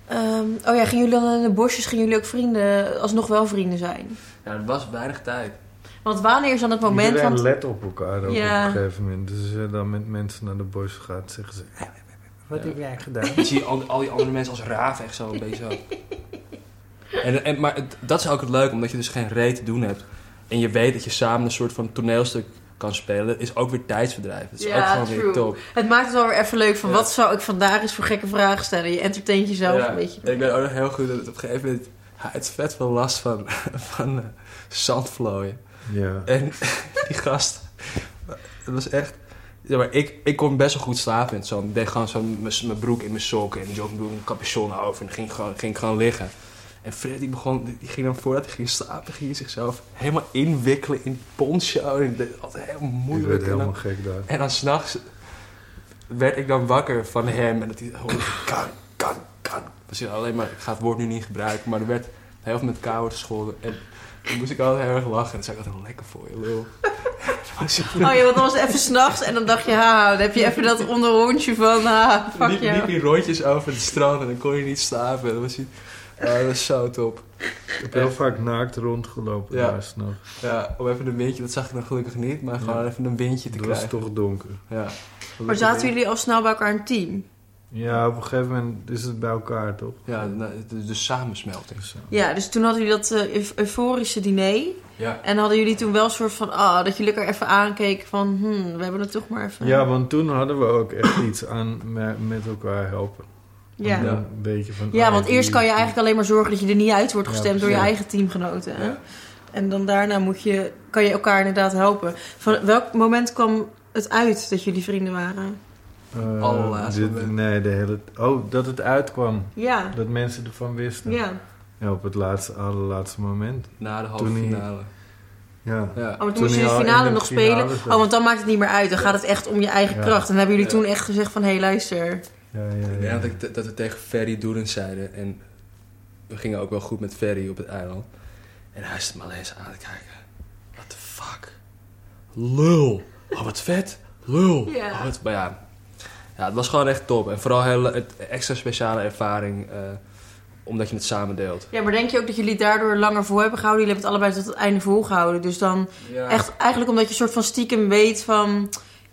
Ehm, oh ja, gingen jullie dan in de bosjes, gingen jullie ook vrienden, alsnog wel vrienden zijn?
Ja, er was weinig tijd.
Want wanneer is dan het moment
Iedereen
van...
let op elkaar ook
Ja.
op een gegeven moment. Dus als je dan met mensen naar de bos gaat, zeggen ze... Wat
Ja.
heb jij gedaan?
Dan zie je al, al die andere mensen als raaf echt zo een beetje zo. En, en, maar het- dat is ook het leuke, omdat je dus geen reet te doen hebt. En je weet dat je samen een soort van toneelstuk kan spelen. Is ook weer tijdsbedrijf. Dat is
Ja,
ook gewoon weer
true.
top.
Het maakt het wel weer even leuk van
Ja.
wat zou ik vandaag eens voor gekke vragen stellen. Je entertaint jezelf
Ja,
een beetje.
Ik weet ook nog heel goed dat het op een gegeven moment... hij heeft vet veel last van, van eh, zandvlooien.
Ja.
En die gast, het was echt... Ja, maar ik, ik kon best wel goed slapen in het zand. Ik deed gewoon zo mijn mijn broek in Dus mijn sokken en joggingbroek en capuchon over. En dan ging, ik gewoon, ging ik gewoon liggen. En Fred die begon, die ging dan voordat hij ging slapen, ging hij zichzelf helemaal inwikkelen in die poncho. En dat deed altijd heel
Ik
moeilijk.
werd
En dan-
helemaal gek daar.
en dan s'nachts werd ik dan wakker van hem en dat hij hoorde kan, kan, kan. Misschien alleen maar, ik ga het woord nu niet gebruiken, maar er werd heel veel met kauwen gescholden. En toen moest ik altijd heel erg lachen en dan zei ik altijd lekker voor je, lul. Was het-
Oh ja, want dan was het even s'nachts en dan dacht je, ha, dan heb je even dat onderhondje van, ha, fuck
Liep, liep
jou.
die rondjes over het strand en dan kon je niet slapen. Dat was, hij- oh, dat was zo top.
Ik heb heel vaak naakt rondgelopen
Ja.
daar s'nachts.
Ja, om even een windje, dat zag ik dan gelukkig niet, maar gewoon
Ja.
even een windje te
Het was
krijgen.
toch donker.
Ja.
Maar zaten jullie al snel bij elkaar een team?
Ja, op een gegeven moment is het bij elkaar, toch?
Ja, nou, de, de samensmelting.
Dus, eh,
Ja, dus toen hadden jullie dat eh, eu- euforische diner.
Ja.
En hadden jullie toen wel een soort van, ah, dat jullie elkaar even aankeken van, hmm, we hebben het toch maar even.
Ja, want toen hadden we ook echt iets aan me- met elkaar helpen.
ja.
Om Een beetje van,
Ja,
ah,
want
die-
eerst kan je eigenlijk alleen maar zorgen dat je er niet uit wordt
Ja,
gestemd door je
precies.
eigen teamgenoten. hè?
Ja.
En dan daarna moet je, kan je elkaar inderdaad helpen. Van welk moment kwam het uit dat jullie vrienden waren?
Eh,
Oh,
allerlaatste
dit-
moment.
Nee, de hele... Oh, dat het uitkwam.
Ja,
Dat mensen ervan wisten.
ja.
Ja, op het laatste, allerlaatste moment.
Na de halve
Toen hij-
finale.
Ja.
Oh,
Ja.
maar toen,
Toen
moest je
hij
de
al in
finale
de
nog
finale
spelen.
zat.
Oh, want dan maakt het niet meer uit. Dan gaat het echt om je eigen
Ja.
kracht. En dan hebben jullie
Ja.
toen echt gezegd van... Hé, hey, luister.
Ja, ja,
Ik
ja.
denk dat, ik, dat we tegen Ferry Doerens zeiden. En we gingen ook wel goed met Ferry op het eiland. En hij zat me alleen eens aan te kijken. What the fuck? Lul. Oh, wat vet. Lul.
Ja.
Oh, wat- maar ja. ja, het was gewoon echt top. En vooral heel, het extra speciale ervaring. eh, omdat je het samen deelt.
Ja, maar denk je ook dat jullie daardoor langer vol hebben gehouden? Jullie hebben het allebei tot het einde volgehouden. Dus dan echt eigenlijk omdat je soort van stiekem weet van...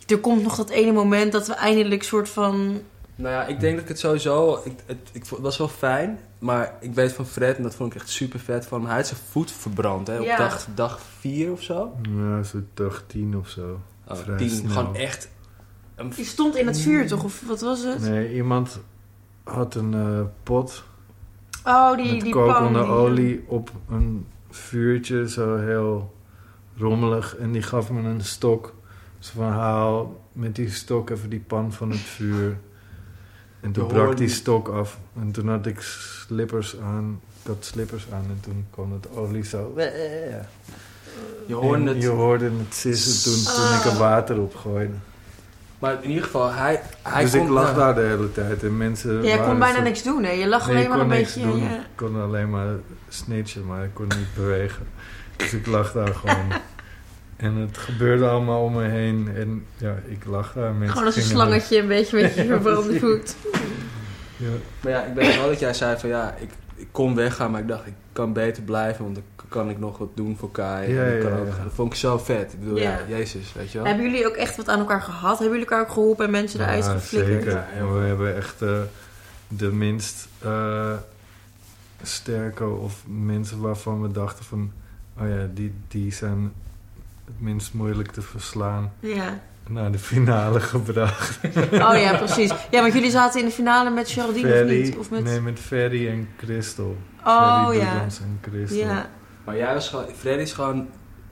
Er komt nog dat ene moment dat we eindelijk soort van...
Nou ja, ik denk dat ik het sowieso... Ik, het, ik, vond- het was wel fijn, maar ik weet van Fred... en dat vond ik echt super vet van hem... hij had zijn voet verbrand, hè, op
Ja.
dag, dag vier of zo.
Ja, zo'n dag tien of zo.
Oh,
Vrij
tien,
snel.
gewoon echt... Een
Je stond in het vuur toch? Of wat was het?
Mm. Nee, iemand had een eh, pot
Oh, die,
met
die pan.
kokende
die-
olie op een vuurtje, zo heel rommelig. En die gaf me een stok. Zo van, haal met die stok even die pan van het vuur. En toen
Je
brak
hoorde
die
die-
stok af. En toen had ik slippers aan. Ik had slippers aan en toen kwam het olie zo.
Je hoorde
En je
het.
hoorde het sissen toen,
Ah.
toen ik er water op gooide.
Maar in ieder geval, hij, hij
dus
kon...
ik lag
ja,
daar de hele tijd en mensen.
Ja, je kon
waren
bijna
zo-
niks doen, hè? Je lag
Nee,
alleen
ik
maar
kon
een
niks
beetje... eh,
doen.
ja.
Ik kon alleen maar snitchen, maar ik kon niet bewegen. Dus ik lag daar gewoon. En het gebeurde allemaal om me heen. En ja, ik lag daar. Mensen
Gewoon als een
gingen
slangetje, een beetje met je
Ja,
verbrande
precies.
voet.
weg. Ja.
Maar ja, ik weet wel dat jij zei van ja, ik, ik kon weggaan, maar ik dacht ik kan beter blijven, want dan k- kan ik nog wat doen voor Kai.
Ja,
en ik kan
ja,
ook-
ja.
Dat vond ik zo vet. Ik bedoel, ja,
Ja.
jezus, weet je wel.
Hebben jullie ook echt wat aan elkaar gehad? Hebben jullie elkaar ook geholpen en mensen
Ja,
eruit geflikkerd?
Zeker. En we hebben echt eh, de minst eh, sterke of mensen waarvan we dachten van... Oh ja, die, die zijn het minst moeilijk te verslaan
Ja.
naar de finale gebracht.
Oh ja, precies. Ja, want jullie zaten in de finale met Geraldine of niet? Of met...
Nee, met Ferry en Crystal.
oh
Ferry
ja.
Doedans en Crystal.
Ja.
Maar jij was gewoon, Freddy is gewoon een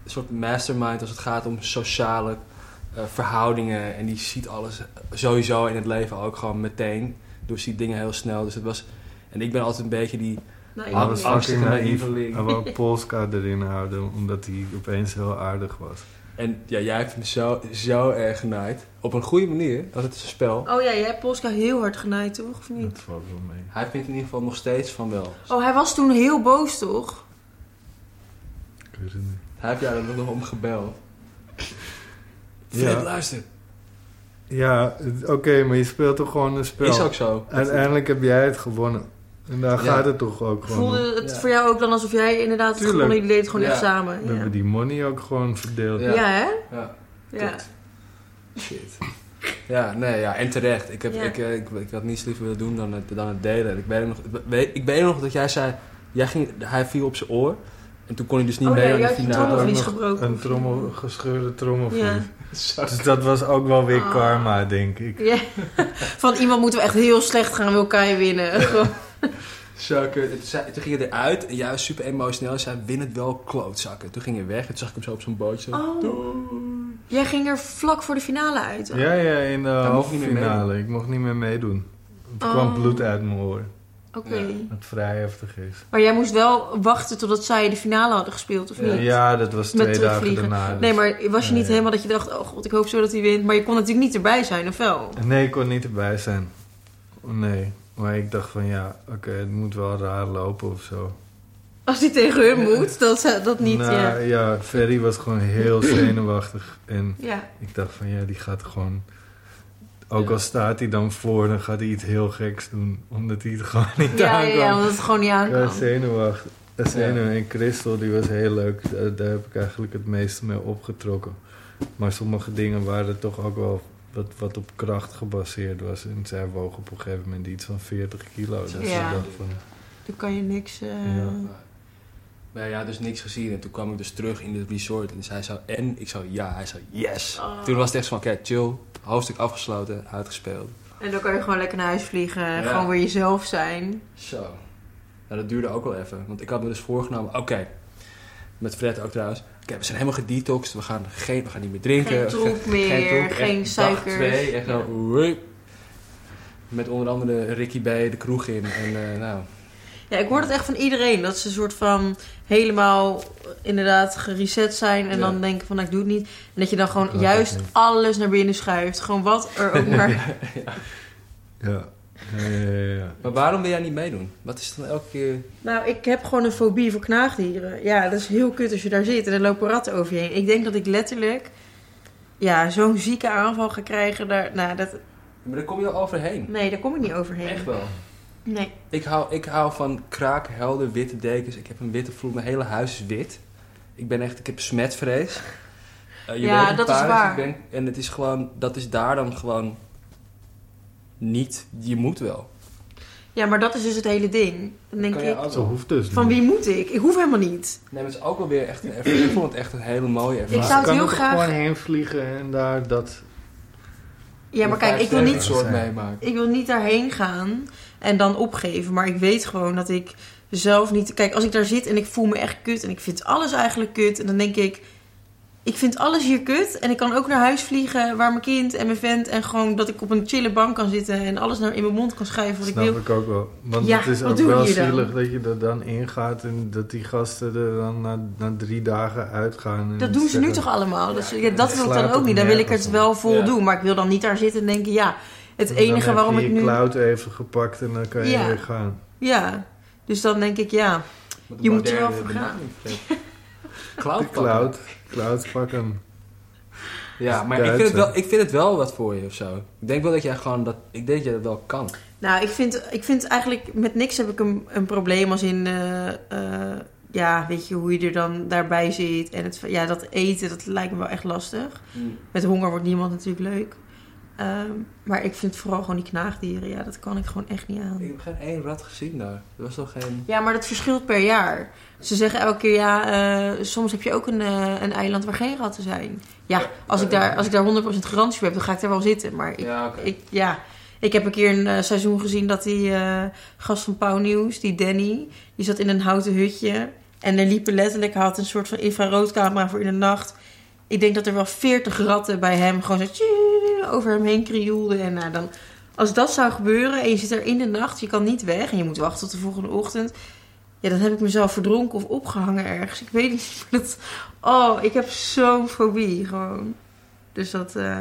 soort mastermind als het gaat om sociale eh, verhoudingen. En die ziet alles sowieso in het leven ook gewoon meteen. Dus ziet dingen heel snel. Dus het was, en ik ben altijd een beetje die
Nou,
Hij was
ik-
Alles-
fucking naïef.
Naïeveling.
Hij wou Polska erin houden, omdat hij opeens heel aardig was.
En ja, jij hebt me zo, zo erg genaaid. Op een goede manier, want het is een spel.
Oh ja, jij hebt Polska heel hard genaaid, toch? Of niet?
Dat valt wel mee.
Hij vindt in ieder geval nog steeds van wel.
Oh, hij was toen heel boos, toch?
Ik weet het niet.
Hij heeft jou er nog om gebeld.
Ja.
Fred, luister.
Ja, het- oké, maar je speelt toch gewoon een spel.
Is ook zo.
Uiteindelijk heb jij het gewonnen. En daar
Ja.
gaat het toch ook gewoon om.
Voelde het
Ja.
voor jou ook dan alsof jij inderdaad het
Tuurlijk.
gewonnen jullie deden het gewoon
Ja.
echt samen? Ja,
We hebben die money ook gewoon verdeeld.
ja.
Ja.
hè?
Ja,
Ja.
Klopt. shit. Ja, nee, ja, en terecht. Ik, heb,
Ja.
ik, eh, ik, ik had niets liever willen doen dan het, dan het delen. En Ik weet, nog, weet- ik weet nog dat jij zei, jij ging, hij viel op zijn oor. En toen kon hij dus niet
Oh ja,
mee
jij
aan de
had je
finale.
trommel-
trommelvlies
Ook nog
gebroken.
Een
of-
trommel, gescheurde trommelvlies.
Ja.
Zo.
Dus dat was ook wel weer
Ah.
karma, denk ik.
Ja. Van iemand moeten we echt heel slecht gaan, wil Kai winnen. Gewoon.
Zakken. Toen, zei- toen ging hij eruit, en juist super emotioneel, en zei: Win het wel, klootzakken. Toen ging hij weg, en toen zag ik hem zo op zo'n bootje. zo,
Oh.
"Doei."
Jij ging er vlak voor de finale uit. hoor.
Ja, ja, in de
Hij mocht
halve
niet meer
finale. Ik mocht niet meer meedoen. Er
Oh.
kwam bloed uit mijn oren.
Oké.
Ja.
Wat vrij heftig is.
Maar jij moest wel wachten totdat zij de finale hadden gespeeld, of niet?
Ja, dat was
Met
twee dagen
terugvliegen.
daarna. dus-
Nee, maar was je niet
Nee.
helemaal dat je dacht, oh god, ik hoop zo dat hij wint. Maar je kon natuurlijk niet erbij zijn, of wel?
Nee, ik kon niet erbij zijn. Nee. Maar ik dacht van ja, oké, het moet wel raar lopen of zo.
Als hij tegen hun moet, dat, ze- dat niet,
Nou,
ja.
ja, Ferry was gewoon heel zenuwachtig. En
Ja.
ik dacht van ja, die gaat gewoon... Ook
Ja.
al staat hij dan voor, dan gaat hij iets heel geks doen. Omdat hij het gewoon niet
Ja, ja,
aan kan.
ja, omdat het gewoon niet aan
Ik was
kan.
zenuwachtig. Eh, Zenuw. En Christel, die was heel leuk. Eh, Daar, daar heb ik eigenlijk het meeste mee opgetrokken. Maar sommige dingen waren toch ook wel wat, wat op kracht gebaseerd was. En zij woog op een gegeven moment iets van 40 kilo. Dus
Ja.
ik dacht van,
Dan kan je niks... eh,
Ja.
Maar ja, dus niks gezien. En toen kwam ik dus terug in het resort. En zij zou en ik zou ja. Hij zei yes.
Oh.
Toen was het echt zo van, kijk, chill. Hoofdstuk afgesloten, uitgespeeld.
En dan kan je gewoon lekker naar huis vliegen.
Ja.
Gewoon weer jezelf zijn.
Zo. Nou, dat duurde ook wel even. Want ik had me dus voorgenomen, oké. met Fred ook trouwens. Oké, we zijn helemaal gedetoxed. We gaan, geen, we gaan niet meer drinken.
Geen troep
Ge-
meer,
troep.
geen
Echt
suikers.
Dag twee, echt zo. woei. Met onder andere Ricky B. de kroeg in. En eh, nou,
Ja, ik hoor het echt van iedereen. Dat ze een soort van helemaal inderdaad gereset zijn. En
Ja.
dan denken van, nou, ik doe het niet. En dat je dan gewoon
Ik kan
juist
het ook niet.
alles naar binnen schuift. Gewoon wat er ook maar...
ja. Ja, ja, ja, ja.
maar waarom wil jij niet meedoen? Wat is het dan elke keer?
nou, ik heb gewoon een fobie voor knaagdieren. Ja, dat is heel kut als je daar zit en er lopen ratten over je heen. Ik denk dat ik letterlijk ja, zo'n zieke aanval ga krijgen. Daar, nou, dat,
Maar daar kom je al overheen.
nee, daar kom ik niet overheen.
Echt wel.
Nee.
Ik hou, ik hou van kraakhelder witte dekens. Ik heb een witte vloer. Mijn hele huis is wit. Ik ben echt, ik heb smetvrees. Eh, je
Ja,
weet in
dat is
Parijs,
waar.
ik ben- en het is gewoon, dat is daar dan gewoon niet. Je moet wel.
Ja, maar dat is dus het hele ding. Dan denk
Kan
ik,
jij ook
Zo
wel.
hoeft dus
van
niet.
wie moet ik? Ik hoef helemaal niet.
Nee, maar het is ook wel weer echt een ervaring. Ik vond het echt een hele mooie ervaring.
Ik zou het
kan
heel
er
graag-
gewoon heen vliegen en daar dat...
Ja, maar kijk, ik wil niet
Een soort
zijn.
meemaken.
ik wil niet daarheen gaan en dan opgeven. Maar ik weet gewoon dat ik zelf niet. Kijk, als ik daar zit en ik voel me echt kut en ik vind alles eigenlijk kut. En dan denk ik, ik vind alles hier kut. En ik kan ook naar huis vliegen waar mijn kind en mijn vent. En gewoon dat ik op een chille bank kan zitten en alles naar in mijn mond kan schuiven wat
Snap
ik
ik,
wil.
ook wel. Want
Ja,
het is
wat
ook
doen
wel
jullie dan?
zielig dat je er dan ingaat en dat die gasten er dan na, na drie dagen uitgaan. en
Dat doen ze nu
zeggen-
toch allemaal? Dus,
Ja,
ja, dat
het
wil ik dan
slaat
ook
op
niet. Dan wil ik
nergens
het
op.
wel vol
Ja.
doen. Maar ik wil dan niet daar zitten en denken, ja, het
Dan heb
enige waarom
je
ik
je
nu.
cloud even gepakt en dan kan je
Ja.
weer gaan.
Ja, dus dan denk ik, ja.
Want
Je
de
moet er wel
moderne
voor gaan.
benadering-
De
Oh,
Cloud
cloud, cloud pakken.
Ja, maar ik
Duits,
vind, het
hè?
wel, ik vind het wel wat voor je of zo. Ik denk wel dat jij gewoon dat. Ik denk dat je dat wel kan.
Nou, ik vind, ik vind eigenlijk met niks heb ik een, een probleem als in, eh, eh, ja, weet je hoe je er dan daarbij zit. En het, ja, dat eten, dat lijkt me wel echt lastig. Met honger wordt niemand natuurlijk leuk. Ehm, maar ik vind vooral gewoon die knaagdieren, ja, dat kan ik gewoon echt niet
Ik
aan.
heb geen één rat gezien daar. Er was toch geen.
Ja, maar dat verschilt per jaar. Ze zeggen elke keer, ja, eh, soms heb je ook een, eh, een eiland waar geen ratten zijn. Ja, als ik daar, als ik daar 100% garantie voor heb, dan ga ik daar wel zitten. Maar ik
Ja, oké.
ik, ja, ik heb een keer een eh, seizoen gezien dat die eh, gast van Pauw Nieuws, die Danny, die zat in een houten hutje. En er liepen letterlijk, hij had een soort van infraroodcamera voor in de nacht. Ik denk dat er wel veertig ratten bij hem gewoon zo tjie- over hem heen krioelden. En nou, dan, als dat zou gebeuren en je zit er in de nacht, je kan niet weg en je moet wachten tot de volgende ochtend. Ja, dan heb ik mezelf verdronken of opgehangen ergens. Ik weet niet. maar Dat, oh, ik heb zo'n fobie gewoon. Dus dat, eh,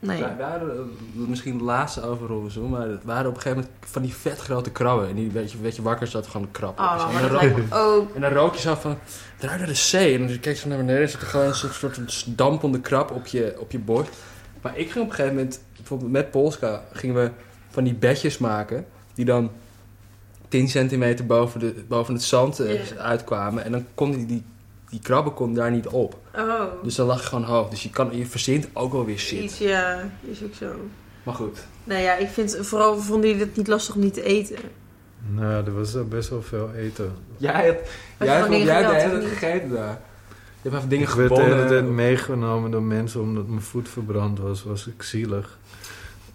nee.
Wij waren eh, misschien de laatste over Robinson, maar het waren op een gegeven moment van die vet grote krabben. En die werd je, werd je wakker, zat gewoon krappen.
Oh, maar
en,
dat
dan
lijkt me ook.
en dan rook je zo van, het ruikt naar de zee. En dan keek ze naar beneden en ze gewoon een soort, soort dampende krab op je, op je bord. Maar ik ging op een gegeven moment, bijvoorbeeld met Polska, gingen we van die bedjes maken. Die dan 10 centimeter boven, de, boven het zand eh,
Ja.
uitkwamen. En dan kon die, die, die krabben kon daar niet op.
Oh,
Dus dan lag je gewoon hoog. Dus je, kan, je verzint ook wel weer shit.
iets, ja, is ook zo.
Maar goed.
Nou ja, ik vind, vooral vonden jullie het niet lastig om niet te eten.
Nou, er was al best wel veel eten.
Jij hebt,
je
jij
van
hebt,
dingen
jij hebt de
gejaagd,
hele
of
tijd
niet?
gegeten daar. Je hebt even
Ik
dingen
werd de hele tijd
gebonden.
meegenomen door mensen omdat mijn voet verbrand was. Was ik zielig.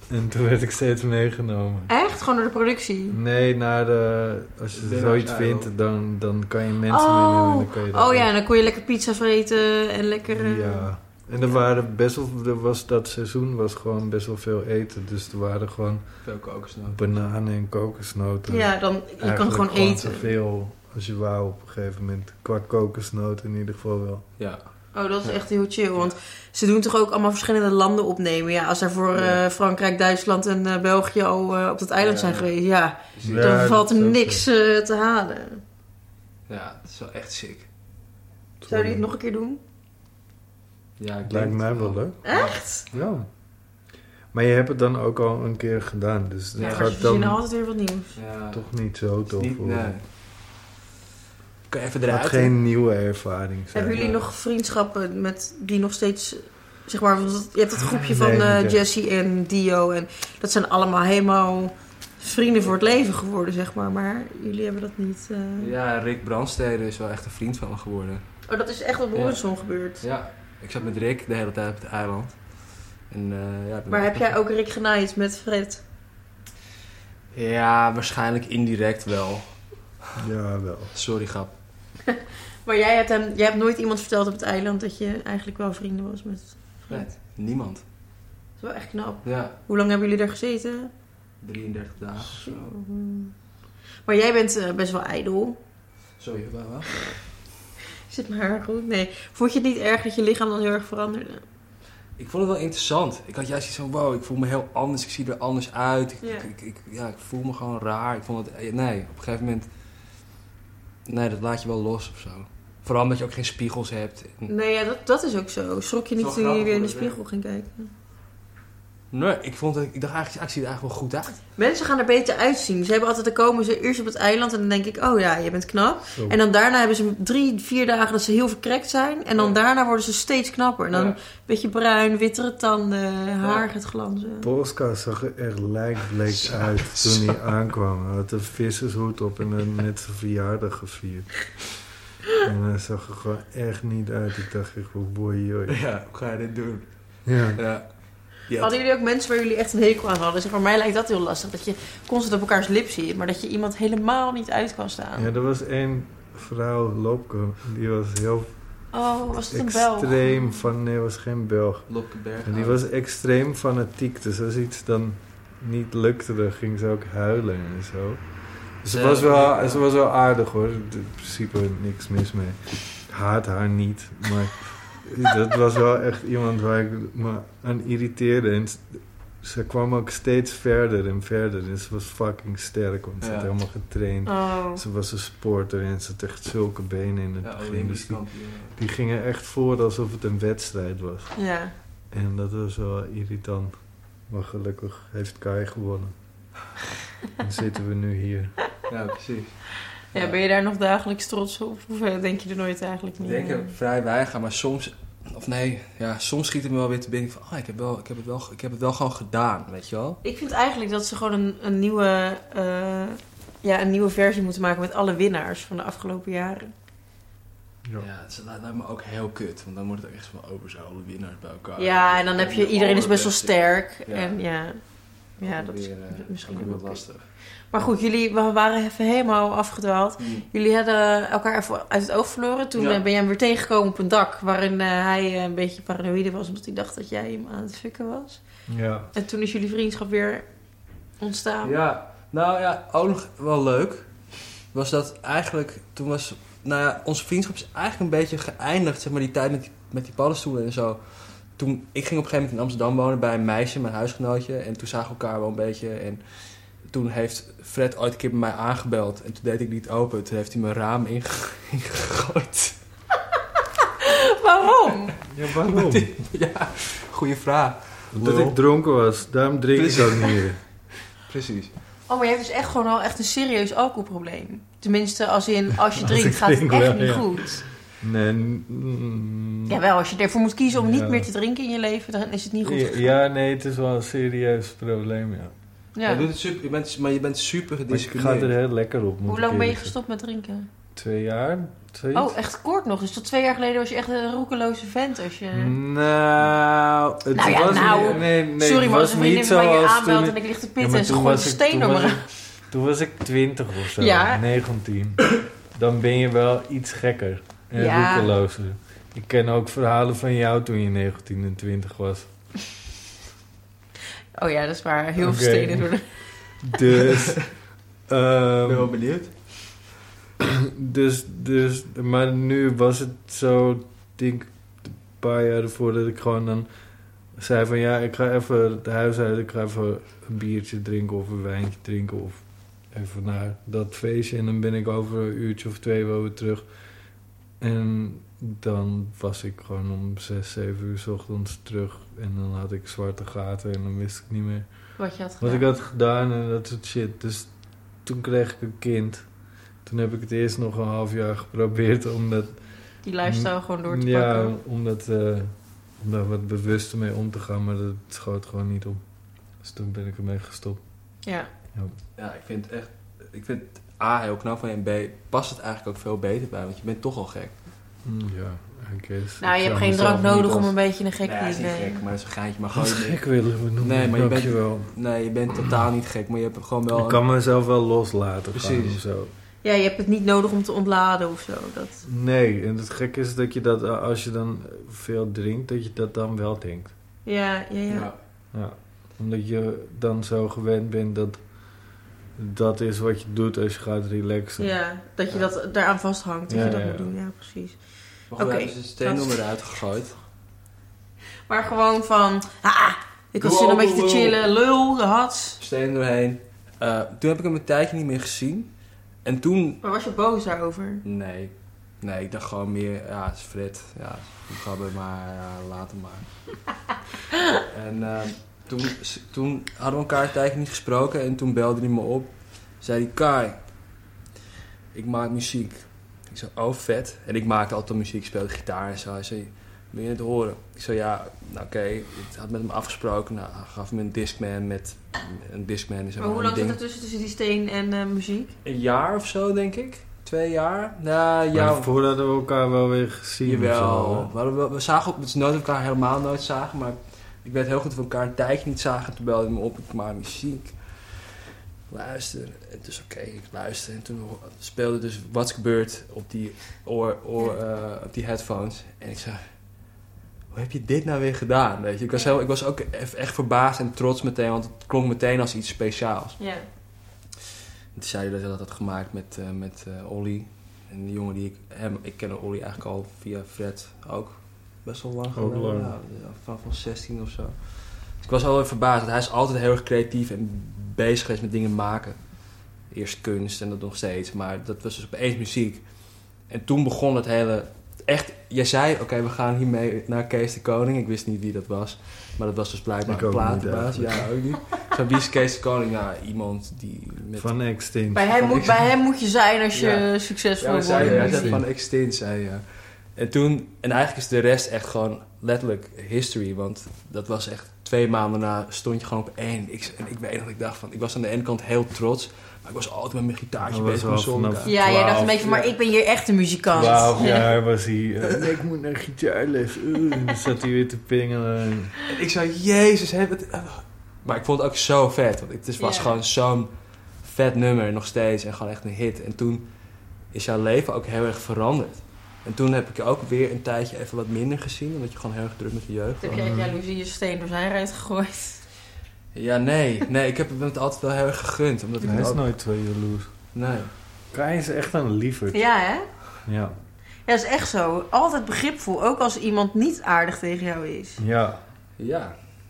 En toen werd ik steeds meegenomen.
Echt? Gewoon door de productie?
Nee, naar de, als je
Dinner
zoiets
style.
vindt, dan, dan kan je mensen meenemen. en
Oh.
Dan kan je dat
oh ja,
doen.
en dan kon je lekker pizza vreten en lekker... eh,
Ja. En er waren best wel, er was, dat seizoen was gewoon best wel veel eten. Dus er waren gewoon
Veel kokosnoot.
bananen en kokosnoten.
ja, dan, je kan
Eigenlijk
gewoon eten.
zoveel als je wou op een gegeven moment. Qua kokosnoot in ieder geval wel.
Ja.
Oh, dat is echt heel chill. Want ze doen toch ook allemaal verschillende landen opnemen. Ja, als er voor
Ja.
eh, Frankrijk, Duitsland en eh, België al eh, op dat eiland
Ja.
zijn geweest, ja,
Ja,
Dus dan valt
dat
er
is ook
niks eh, te halen.
Ja, dat is wel echt sick.
zo.
Zou je het nog een keer doen?
Ja, ik
Het lijkt
denk
mij
het
wel leuk.
Echt?
Ja. Maar je hebt het dan ook al een keer gedaan. Dus dat
Ja, maar ze
gaat
verzinnen
dan
altijd weer wat nieuws.
Ja.
toch niet zo
Het is
tof
niet-
worden.
nee. Kan je even
Het
eruit?
gaat geen nieuwe ervaring zijn.
Hebben jullie
ja.
nog vriendschappen met die nog steeds... Zeg maar, want je hebt het groepje van
Nee,
eh,
niet echt.
Jesse en Dio. En dat zijn allemaal helemaal vrienden voor het leven geworden, zeg maar. Maar jullie hebben dat niet... eh.
Ja, Rick Brandstede is wel echt een vriend van me geworden.
Oh, dat is echt op de
Ja.
horizon gebeurd.
Ja, ik zat met Rick de hele tijd op het eiland. En, eh, ja,
Maar heb jij ook Rick genaaid met Fred?
Ja, waarschijnlijk indirect wel.
Ja, wel.
Sorry, grap.
Maar jij hebt, hem, jij hebt nooit iemand verteld op het eiland dat je eigenlijk wel vrienden was met Fred.
Nee. Niemand.
Dat is wel echt knap.
Ja,
Hoe lang hebben jullie daar gezeten?
33
Ah,
dagen.
Mm. Maar jij bent eh, best wel ijdel.
Sorry, waar wel?
Zit mijn haar goed? Nee. Vond je het niet erg dat je lichaam dan heel erg veranderde?
Ik vond het wel interessant. Ik had juist iets van, wow, ik voel me heel anders. Ik zie er anders uit. Ik,
Ja.
ik, ik, ik- ja, ik voel me gewoon raar. Ik vond het... eh, Nee, op een gegeven moment... Nee, dat laat je wel los of zo. Vooral omdat je ook geen spiegels hebt.
Nee, ja, dat, dat is ook zo. Schrok je niet
Zo
toen je
grappig
weer in de
hoe dat
spiegel ging kijken?
Nee, ik, vond het, ik dacht eigenlijk, ik zie er eigenlijk wel goed uit.
Mensen gaan er beter uitzien. Ze hebben altijd, dan komen ze eerst op het eiland en dan denk ik, oh ja, je bent knap.
Zo.
En dan daarna hebben ze drie, vier dagen dat ze heel verkrekt zijn. En dan
Ja.
daarna worden ze steeds knapper. En dan
Ja.
een beetje bruin, wittere tanden, haar gaat glanzen.
Polska zag er echt lijkbleek
Zo,
uit
zo.
toen hij aankwam. Hij had een vissershoed op en had net zijn verjaardag gevierd. En hij zag er gewoon echt niet uit. Ik dacht echt, van, boy, joh.
Ja, hoe ga je dit doen?
Ja.
Ja. Ja,
Hadden jullie ook mensen waar jullie echt een hekel aan hadden? Zeg, voor mij lijkt dat heel lastig. Dat je constant op elkaars lip zit. Maar dat je iemand helemaal niet uit kan staan.
ja, er was één vrouw, Lopko, die was heel
Oh, was het een Oh. bel?
extreem van... Nee, was geen Belg.
Lopke Berg.
En die was extreem fanatiek. Dus als iets dan niet lukte, dan ging ze ook huilen en zo. Dus Ze
Ja,
was
ja.
wel, ze was wel aardig hoor. In principe niks mis mee. Ik haat haar niet. Maar dat was wel echt iemand waar ik me aan irriteerde. En s- ze kwam ook steeds verder en verder. En ze was fucking sterk, want ze
Ja.
had helemaal getraind.
Oh.
Ze was een sporter en ze had echt zulke benen in het
Ja,
begin.
Olympisch
Dus die,
kampioen.
die gingen echt voor alsof het een wedstrijd was.
Ja.
En dat was wel irritant. Maar gelukkig heeft Kai gewonnen. Dan zitten we nu hier.
Ja, precies.
ja, ben je daar nog dagelijks trots op? Of eh, denk je er nooit eigenlijk
Ik
meer
denk er
aan?
vrij weinig aan, maar soms... Of nee, ja, soms schiet het me wel weer te binnen van... Ah, ik heb, wel, ik, heb het wel, ik heb het wel gewoon gedaan, weet je wel?
Ik vind eigenlijk dat ze gewoon een, een, nieuwe, eh, ja, een nieuwe versie moeten maken met alle winnaars van de afgelopen jaren.
Ja.
Ja, dat lijkt me ook heel kut. Want dan wordt het ook echt van over z'n alle winnaars bij elkaar.
Ja, en dan heb je, iedereen is best wel sterk.
Ja.
En ja, ja dat is
Weer, eh,
misschien
ook
wel
wat
lastig.
lastig.
Maar goed, jullie we waren even helemaal afgedwaald. Jullie hadden elkaar even uit het oog verloren. Toen
Ja.
eh, ben jij hem weer tegengekomen op een dak waarin eh, hij eh, een beetje paranoïde was, omdat hij dacht dat jij hem aan het fikken was.
Ja.
En toen is jullie vriendschap weer ontstaan.
Ja, nou ja, ook nog wel leuk. Was dat eigenlijk, toen was, nou ja, onze vriendschap is eigenlijk een beetje geëindigd, zeg maar, die tijd met die, met die paddenstoelen en zo. Toen, ik ging op een gegeven moment in Amsterdam wonen bij een meisje, mijn huisgenootje, en toen zagen we elkaar wel een beetje. En toen heeft Fred ooit een keer bij mij aangebeld en toen deed ik niet open. Toen heeft hij mijn raam inge- ingegooid.
Waarom?
Ja, waarom?
ja, goede vraag.
Omdat ik dronken was. Daarom drink ik ook niet meer.
Precies.
Oh, maar je hebt dus echt gewoon al echt een serieus alcoholprobleem. Tenminste, als, in, als je
Als
drinkt
ik
gaat het
drink
echt
wel,
niet
ja.
goed.
Nee. mm,
Jawel, als je ervoor moet kiezen om niet
Ja.
meer te drinken in je leven, dan is het niet goed.
Ja, ja, nee, het is wel een serieus probleem, ja.
Ja.
Je doet het super, je bent, maar je bent super
Maar Dus ik ga er
gedisciplineerd.
heel lekker op. moet
Hoe
ik
lang ben je
eerlijk
gestopt met drinken?
zeggen. twee jaar. zoiets.
Oh, echt kort nog. Dus tot twee jaar geleden was je echt een roekeloze vent. Als je...
Nou, het
Nou ja,
was
nou,
niet, nee, Mm, nee,
Sorry,
het
maar als
was
een
niet
vriendin van je
zoals toen.
aanbelt en
ik-
ik lig te
Ja,
pitten
maar
en ze
toen
gooit een
was ik-
steen
toen
door me
was
heen.
ik- Toen was ik 20 of zo,
Ja.
19. Dan ben je wel iets gekker en
Ja.
roekelozer. Ik ken ook verhalen van jou toen je 19 en 20 was.
Oh ja, dat is waar. Heel veel
Oké.
stenen door de...
Dus. ehm,
Ik ben wel benieuwd.
dus, dus, maar nu was het zo, ik denk een paar jaar ervoor dat ik gewoon dan zei van ja, ik ga even het huis uit, ik ga even een biertje drinken of een wijntje drinken of even naar dat feestje en dan ben ik over een uurtje of twee wel weer terug. En dan was ik gewoon om zes, zeven uur 's ochtends terug en dan had ik zwarte gaten en dan wist ik niet meer
Wat je had gedaan.
wat ik had gedaan en dat soort shit. Dus toen kreeg ik een kind. Toen heb ik het eerst nog een half jaar geprobeerd om dat,
Die lifestyle gewoon door te
ja,
pakken.
om, dat, eh, om daar wat bewuster mee om te gaan, maar dat schoot gewoon niet op. Dus toen ben ik ermee gestopt.
Ja.
Ja, ik vind het echt. Ik vind het A heel knap van je en B past het eigenlijk ook veel beter bij, want je bent toch al gek.
Mm, ja, I guess.
Nou,
Ik
je hebt
zou
geen
mezelf
drank nodig
niet
om
als- Oh,
een beetje een gek
nee, hij
te
is niet
zijn.
gek, maar dat is een geintje. Maar
als
gewoon,
gek willen we noemen.
Nee, maar je bent-
wel.
nee, je bent totaal niet gek, maar je hebt gewoon wel.
Ik kan mezelf wel loslaten. Precies.
Precies.
of zo.
Ja, je hebt het niet nodig om te ontladen of zo. Dat...
Nee, en het gekke is dat je dat eh, als je dan veel drinkt, dat je dat dan wel denkt.
Ja, ja, ja.
Ja.
Ja, omdat je dan zo gewend bent dat dat is wat je doet als je gaat relaxen.
Ja, dat je
Ja.
dat daaraan vasthangt, dat
Ja,
je dat
ja,
moet
ja.
doen. Ja, precies.
Maar goed,
Oké,
hij is een steennummer eruit gegooid.
Maar gewoon van, ah, ik had
Doe
zin om een
open,
beetje te
lul.
chillen, lul, de hats.
Steen doorheen. Eh, toen heb ik hem een tijdje niet meer gezien. En toen.
Maar was je boos daarover?
Nee. Nee, ik dacht gewoon meer. Ja, het is Fred. Ja, ik gabber, maar ja, laat hem maar. en eh, toen, toen hadden we elkaar een tijdje niet gesproken. En toen belde hij me op. Zei hij: Kai, ik maak muziek. Ik zei: Oh, vet. En ik maakte altijd al muziek, speelde gitaar en zo. Hij zei: Wil je het horen? Ik zei: Ja, nou oké. Ik had met hem afgesproken. Nou, hij gaf me een Discman met een Discman. en zo
Maar hoe
een
lang
ding.
zit er tussen, tussen die steen en eh, muziek?
Een jaar of zo, denk ik. Twee jaar. Nou,
Maar
ja,
Daarvoor hadden we elkaar wel weer gezien. of zo, eh.
jawel.
hè?
We, hadden wel- we zagen op, het is nooit dat we elkaar helemaal nooit zagen, maar ik weet heel goed dat we elkaar een tijdje niet zagen. Toen belde hij me op, ik maak muziek. Luister. Het is oké, ik luister. En toen ho- speelde dus What's Gebeurd op die, oor, oor, eh, op die headphones. En ik zei, hoe heb je dit nou weer gedaan? Weet je, ik was, heel, ik was ook e- echt verbaasd en trots meteen, want het klonk meteen als iets speciaals.
Ja.
Toen zei hij dat hij dat had gemaakt met, eh met eh, Olly. En die jongen die ik... Hem, ik ken Olly eigenlijk al via Fred ook. Best wel lang
Ook lang.
Ja, van, van 16 of zo. Dus ik was wel verbaasd. Want hij is altijd heel erg creatief en bezig geweest met dingen maken. Eerst kunst en dat nog steeds. Maar dat was dus opeens muziek. En toen begon het hele... Echt, jij zei, oké, we gaan hiermee naar Kees de Koning. Ik wist niet wie dat was. Maar dat was dus blijkbaar
Ik
een
ook niet
platenbaas. Ja,
eigenlijk.
ook niet. Zo, wie is Kees de Koning? Nou, iemand die met
Van Extinct.
Bij, hem moet, bij hem moet je zijn als je
Ja.
succesvol
Ja, maar
wordt.
zei, hij
ja,
zei
ja.
van extinct, zei hij, ja. En toen, en eigenlijk is de rest echt gewoon letterlijk history, want dat was echt twee maanden na stond je gewoon op één. Ik, en ik weet nog, ik dacht van, ik was aan de ene kant heel trots, maar ik was altijd met mijn gitaartje
Dat was
bezig
wel
met zondag.
vanaf-
Ja, jij dacht een
Twaalf,
beetje, maar
ja.
ik ben hier echt een muzikant.
12
Ja.
jaar was hij. eh, nee, ik moet naar gitaarles. Oeh, en dan zat hij weer te pingelen.
En ik zei, jezus, hè, wat- eh." maar ik vond het ook zo vet, want het is- was
Ja.
gewoon zo'n vet nummer nog steeds en gewoon echt een hit. En toen is jouw leven ook heel erg veranderd. En toen heb ik je ook weer een tijdje even wat minder gezien, omdat je gewoon heel erg druk met je jeugd
Toen
was.
heb jij jaloezie je steen door zijn ruit gegooid.
Ja, nee. Nee, ik heb hem het altijd wel heel erg gegund. Omdat ik
Hij is
ook-
nooit zo jaloers.
Nee.
Kai is echt een lieverd. Ja.
Ja, hè?
Ja.
Ja, dat is echt zo. Altijd begripvol, ook als iemand niet aardig tegen jou is.
Ja,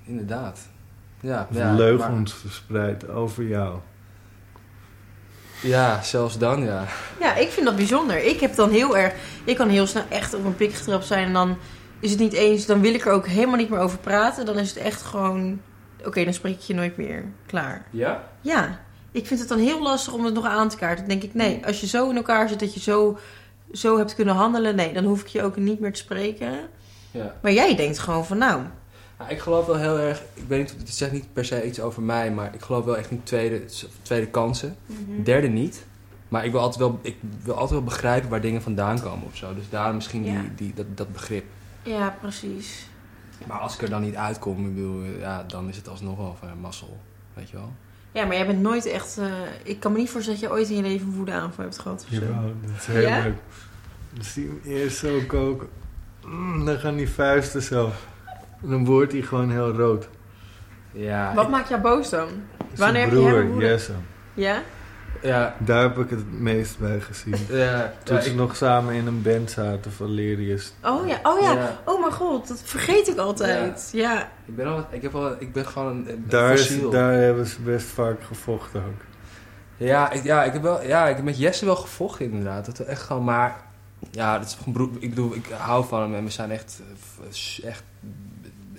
inderdaad. Ja,
Of
ja,
leugens verspreid over jou.
maar- ja, zelfs dan, ja.
Ja, ik vind dat bijzonder. Ik heb dan heel erg. Ik kan heel snel echt op een pik getrapt zijn. En dan is het niet eens. Dan wil ik er ook helemaal niet meer over praten. Dan is het echt gewoon. Oké, dan spreek ik je nooit meer. Klaar.
Ja?
Ja, ik vind het dan heel lastig om het nog aan te kaarten. Dan denk ik, nee, als je zo in elkaar zit dat je zo, zo hebt kunnen handelen. Nee, dan hoef ik je ook niet meer te spreken.
Ja.
Maar jij denkt gewoon van nou.
Nou, ik geloof wel heel erg... Ik weet niet, het Mhm. zegt niet per se iets over mij, maar ik geloof wel echt in tweede, tweede kansen. Derde niet. Maar ik wil altijd wel, ik wil altijd wel begrijpen waar dingen vandaan komen of zo. Dus daar misschien
Ja.
die, die, dat, dat begrip.
Ja, precies.
Maar als ik er dan niet uitkom, ik bedoel, ja, dan is het alsnog wel van een mazzel. Weet je wel?
Ja, maar jij bent nooit echt... eh, ik kan me niet voorstellen dat je ooit in je leven een woedeaanval hebt gehad of zo.
Jawel, dat is heel
Ja?
leuk. Dan zie je hem eerst zo koken. Mm, dan gaan die vuisten zo. En dan wordt hij gewoon heel rood.
Ja,
Wat
ik-
maakt jou boos dan?
Zijn
Wanneer heb je hem
broer,
ontmoet?
Jesse.
Ja?
ja,
Daar heb ik het meest bij gezien.
ja,
Toen
ja,
ze
ik-
nog samen in een band zaten, Valerius.
Oh ja, oh ja.
ja.
Oh mijn god, dat vergeet ik altijd. Ja.
Ik ben, al, ik, heb al, ik ben gewoon een, een
Daar, is-
fossiel.
daar hebben ze best vaak gevochten ook.
Ja, ik, ja, ik heb wel, ja, ik heb met Jesse wel gevochten inderdaad. Dat we echt gewoon, maar ja, dat is gewoon broer, ik bedoel, ik hou van hem en we zijn echt, eh, f- s- echt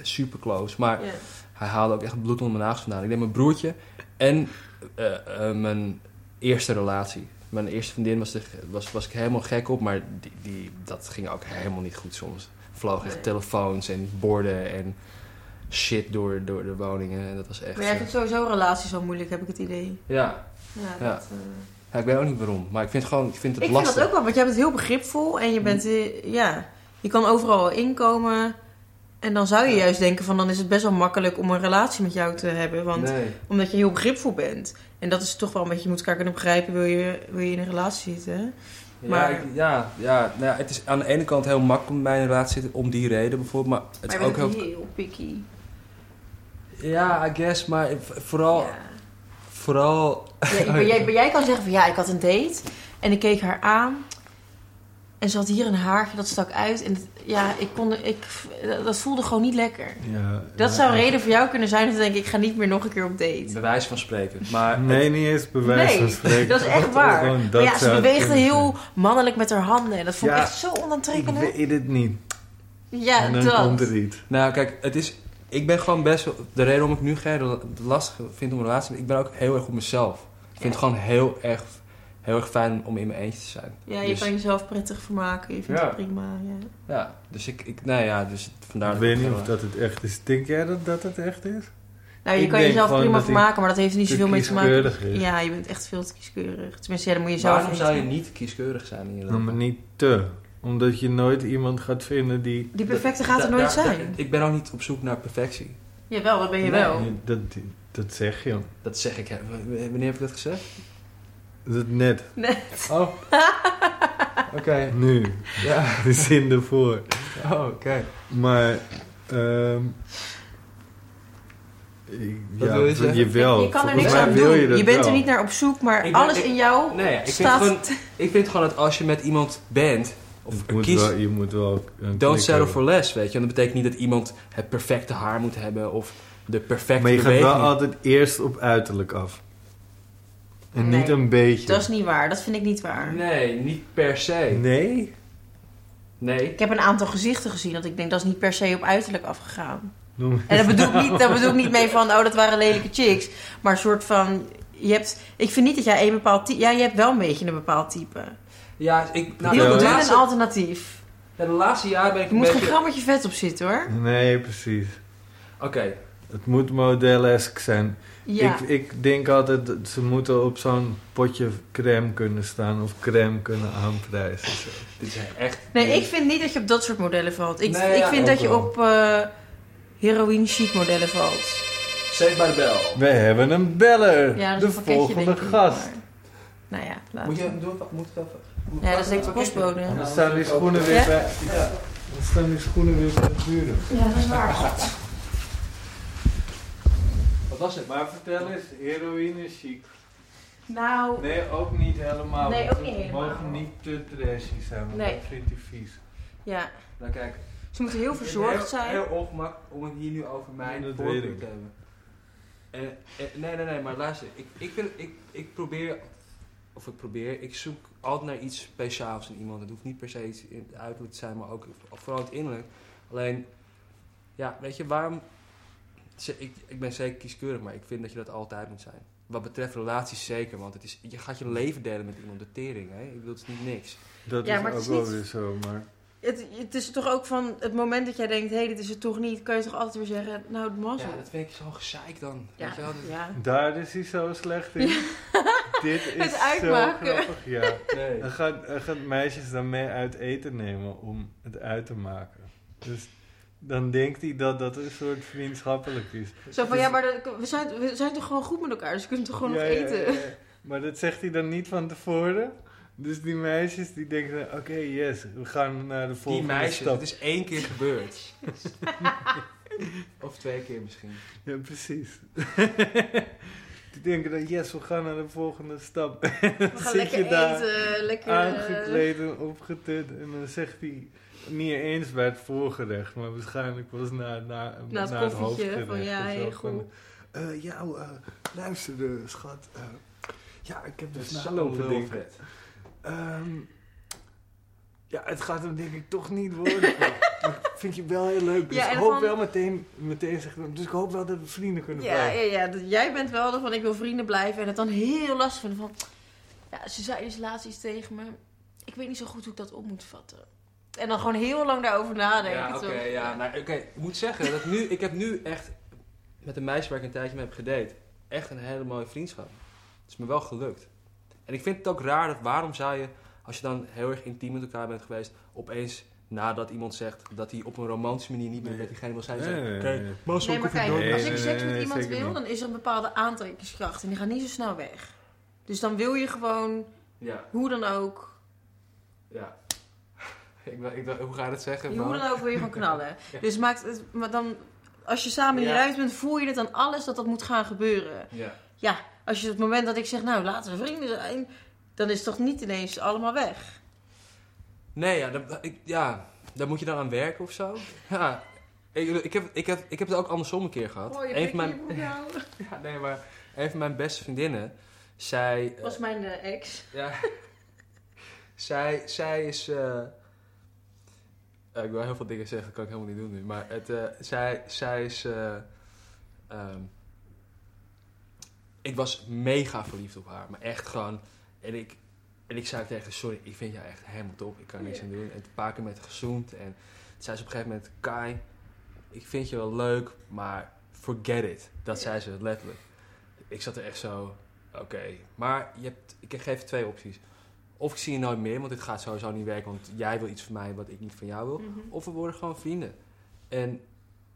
super close. Maar
Ja.
hij haalde ook echt bloed onder mijn nagels vandaan. Ik denk mijn broertje en eh, eh, mijn eerste relatie. Mijn eerste vriendin was, de, was, was ik helemaal gek op, maar die, die, dat ging ook helemaal niet goed soms. Vloog echt
Nee.
telefoons en borden en shit door, door de woningen. En dat was echt.
Maar jij
eh,
vindt sowieso relaties wel moeilijk, heb ik het idee.
ja,
Ja,
Ja.
dat, eh.
Ja, ik weet ook niet waarom, maar ik vind het gewoon ik vind het
Ik vind
lastig. Mm.
dat ook wel, want jij bent heel begripvol en je bent... eh, Ja, je kan overal inkomen. En dan zou je juist denken van, dan is het best wel makkelijk om een relatie met jou te hebben. Want
Nee.
Omdat je heel begripvol bent. En dat is toch wel een beetje, je moet elkaar kunnen begrijpen, wil je, wil je in een relatie zitten. maar-
ja, ik- ja, ja, nou ja, het is aan de ene kant heel makkelijk om bij een relatie te zitten om die reden bijvoorbeeld, maar het is ook heel...
picky.
Ja, I guess, maar ik- vooral, vooral
Oh,
maar, jij, maar jij kan zeggen van, ja, ik had een date en ik keek haar aan. En ze had hier een haartje, dat stak uit. En het- ja, ik kon, ik, dat voelde gewoon niet lekker.
Ja,
Dat
ja,
zou een
echt.
reden voor jou kunnen zijn om te denken, ik ga niet meer nog een keer op date.
bewijs van spreken. Maar
Nee, niet eens bewijs
Nee,
van spreken.
dat is echt waar.
Gewoon
Maar
dat
ja, ze
zou het
beweegde
kunnen
heel mannelijk met haar handen. En dat vond ik
Ja,
echt zo
zijn. Ik
onaantrekkelijk.
weet het niet.
Ja,
en dan
dat.
komt er iets.
nou, kijk, het is... Ik ben gewoon best wel... De reden waarom ik nu geen rela- lastig vind om een relatie te Ik ben ook heel erg op mezelf. Ik vind het gewoon heel erg, heel erg fijn om in mijn eentje te zijn.
Ja, je
Dus-
kan jezelf prettig vermaken. Je vindt
Ja.
het prima. Ja.
Ja, dus ik... ik nou ja, dus vandaar...
Ik
dat
weet niet
wel-
of dat het echt is. Denk jij dat dat het echt is?
Nou, je
Ik
kan jezelf
denk gewoon
prima
dat ik
vermaken, maar dat heeft niet
te
zoveel mee te maken.
kieskeurig is.
Ja, je bent echt veel te kieskeurig. Tenminste, ja, dan moet je zelf
Waarom zou je
weten.
niet kieskeurig zijn in je
Nou,
leven?
maar niet te. Omdat je nooit iemand gaat vinden die...
Die perfecte gaat er
Da-
nooit
daar-
zijn.
Ik ben ook niet op zoek naar perfectie.
Jawel, dat ben je
Nee.
wel.
Nee, Dat, dat zeg je.
Dat zeg ik. hè. W- w- Wanneer heb ik dat gezegd?
Dat net.
Oh. Oké.
Nu.
Ja.
De zin ervoor.
Oh, oké.
Maar... ehm ik-
Wat
ja,
wil je zeggen?
Jawel.
je kan er
Volgens
niks
mij
aan
wil
doen.
Je,
Je,
dat
bent er
wel.
niet naar op zoek, maar
Ik ben-
alles
ik-
in jou
Nee, ik vind,
staat...
gewoon, ik vind gewoon dat als je met iemand bent, of
Je moet
kiest,
wel- je moet wel een
don't
klik
settle
hebben.
for less, weet je. En dat betekent niet dat iemand het perfecte haar moet hebben of de perfecte
Maar je gaat wel
beweging.
altijd eerst op uiterlijk af. En
Nee,
niet een beetje.
Dat is niet waar. Dat vind ik niet waar.
Nee, niet per se.
Nee?
Nee.
Ik heb een aantal gezichten gezien dat ik denk, dat is niet per se op uiterlijk afgegaan.
Noem-
En dat bedoel ik niet, dat bedoel ik niet mee van, oh, dat waren lelijke chicks. Maar een soort van, je hebt... Ik vind niet dat jij een bepaald type... Ja, je hebt wel een beetje een bepaald type.
Ja, ik, nou,
Ja,
Heel
de,
dun
ja.
en
laatste,
alternatief.
ja, de laatste jaar ben ik
Je
een
moet geen
beetje...
grammetje vet op zitten hoor.
Nee, precies.
Oké.
Het moet modelesk zijn.
Ja.
Ik, ik denk altijd dat ze moeten op zo'n potje crème kunnen staan of crème kunnen aanprijzen. Zo.
Dit is echt...
Nee, ik vind niet dat je op dat soort modellen valt. Ik,
Nee,
ik
ja,
vind
ook
dat je
wel.
op eh heroïne chic modellen valt.
Saved by the bell.
We hebben een beller!
Ja, dat is
de
een pakketje,
volgende
denk ik,
gast.
maar- Nou ja, laten
Moet je
we.
hem doen? Moet ik even... moet-
Ja, dat is denk ik de postbode.
Dan staan die schoenen weer
Ja?
bij. Ja. Dan staan die schoenen weer bij de buren.
Ja, dat is waar.
Wat was het?
Maar vertel eens, heroïne is chic.
Nou,
Nee, ook niet helemaal.
Nee,
want
ook niet
we
helemaal.
mogen niet te trashy zijn, want
Nee.
dat vindt hij vies.
ja.
Nou kijk.
Ze moeten heel
Ik ben
verzorgd
heel-
zijn.
Heel ongemak om het hier nu over mijn
Dat weet
voorkeur
ik.
te hebben. Eh, eh, nee, nee, nee, maar luister. Ik, ik, vind, ik, ik probeer, of ik probeer, ik zoek altijd naar iets speciaals in iemand. Het hoeft niet per se iets in het uiterlijk te zijn, maar ook vooral het innerlijk. Alleen, ja, weet je, waarom... ze- Ik, ik ben zeker kieskeurig, maar ik vind dat je dat altijd moet zijn. Wat betreft relaties zeker, want het is, je gaat je leven delen met iemand, de tering, hè? Ik bedoel, het is niet niks.
Dat
Ja,
is
maar
ook
het is
wel
niet-
weer zo, maar...
Het, het is toch ook van het moment dat jij denkt: hé, hey, dit is het toch niet, kan je toch altijd weer zeggen: nou, het mazzel.
Ja, dat vind ik zo gezeik dan.
Ja,
Weet je wel? Dat-
ja.
Daar is hij zo slecht in. Dit is
Het uitmaken.
zo grappig, ja.
Nee.
Dan gaan, dan gaan meisjes dan mee uit eten nemen om het uit te maken. Dus dan denkt hij dat dat een soort vriendschappelijk is.
Zo van, ja, maar dat- we zijn, we zijn toch gewoon goed met elkaar, dus we kunnen toch gewoon
Ja,
nog
ja,
eten?
ja, ja. Maar dat zegt hij dan niet van tevoren. Dus die meisjes die denken, dan, oké, yes, we gaan naar de
Die
volgende
meisjes,
stap.
het is één keer gebeurd. of twee keer misschien.
Ja, precies. die denken dan, yes, we gaan naar de volgende stap.
We gaan
Zit
lekker
je daar
eten, lekker... eh,
Aangekleed en opgetut. En dan zegt hij, niet eens bij het voorgerecht, maar waarschijnlijk was na, na,
Na het
na het
koffietje,
hoofdgerecht.
van, ja,
of zo.
heel
Van,
goed.
eh, ja, eh, luister, eh, schat. eh, ja, ik heb
Dat
dus
is
na
zo'n
lopen
lul,
denken.
Fred.
Ehm, ja, het gaat hem denk ik toch niet worden. maar ik vind je wel heel leuk. Dus
Ja, en
ik hoop
van-
wel meteen, meteen zeg ik dan, Dus ik hoop wel dat we vrienden kunnen
Ja,
blijven.
ja, ja, dat- jij bent wel van ik wil vrienden blijven en het dan heel lastig vinden van... Ja, ze zei dus laatst iets tegen me. Ik weet niet zo goed hoe ik dat op moet vatten. En dan gewoon heel lang daarover nadenken.
ja, oké,
toch?
ja. Nou, oké, Ik moet zeggen, dat nu, ik heb nu echt met een meisje waar ik een tijdje mee heb gedate, echt een hele mooie vriendschap. Het is me wel gelukt. En ik vind het ook raar, dat waarom zou je, als je dan heel erg intiem met elkaar bent geweest, opeens nadat iemand zegt dat hij op een romantische manier niet meer met diegene wil zijn, zeggen,
Nee,
"Oké,
nee, nee.
maar zo
Nee, maar
komt het
kijk,
nooit
Nee,
als
meer."
ik
nee,
seks
nee,
met
nee,
iemand
zeker
wil,
niet.
dan is er een bepaalde aantrekkingskracht en die gaat niet zo snel weg. Dus dan wil je gewoon,
Ja,
hoe dan ook,
ja. Ik, dacht- ik dacht, hoe ga je dat zeggen?
hoe dan ook wil je gewoon knallen.
Ja.
Dus maakt het, maar dan, als je samen
Ja.
hieruit bent, voel je het aan alles dat dat moet gaan gebeuren.
Ja.
Ja, als je het moment dat ik zeg, nou laten we vrienden zijn, dan is het toch niet ineens allemaal weg.
Nee, ja, dat, ik, ja, daar moet je dan aan werken of zo. Ja. Ik, ik, heb, ik, heb, ik heb het ook andersom een keer gehad.
Mooi,
Een van mijn, ja, nee, maar een van mijn beste vriendinnen, zij... eh,
was mijn eh, ex.
ja, zij, zij is... eh, eh, ik wil heel veel dingen zeggen, kan ik helemaal niet doen nu. Maar het, eh, zij, zij is... eh, ehm, ik was mega verliefd op haar, maar echt gewoon... En ik, en ik zei ook tegen haar, sorry, ik vind jou echt helemaal top. Ik kan er niks aan doen. En toen een paar keer met haar gezoend. En toen zei ze op een gegeven moment... Kai, ik vind je wel leuk, maar forget it. Dat zei ze letterlijk. Ik zat er echt zo... Oké, maar je hebt, ik geef je twee opties. Of ik zie je nooit meer, want dit gaat sowieso niet werken. Want jij wil iets van mij wat ik niet van jou wil. Of we worden gewoon vrienden. En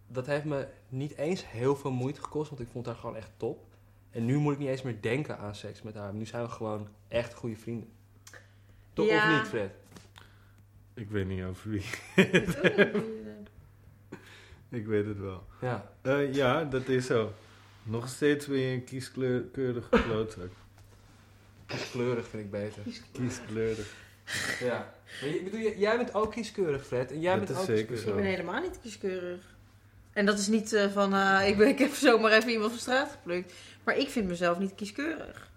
dat heeft me niet eens heel veel moeite gekost, want ik vond haar gewoon echt top. En nu moet ik niet eens meer denken aan seks met haar. Nu zijn we gewoon echt goede vrienden. Toch
Ja.
of niet, Fred?
Ik weet niet over wie.
Oh,
Ik weet het wel.
Ja.
Eh, ja, dat is zo. Nog steeds ben je een kieskeurige klootzak.
Kleurig vind ik beter.
Kieskleurig.
Ja. Maar je- ik bedoel, jij- jij bent ook kieskeurig, Fred. En jij
Dat
bent
is
ook
zeker
kieskeurig.
Ik
zo.
ben helemaal niet kieskeurig. En dat is niet eh, van, eh, ik, ben, ik heb zomaar even iemand van straat geplukt. Maar ik vind mezelf niet kieskeurig.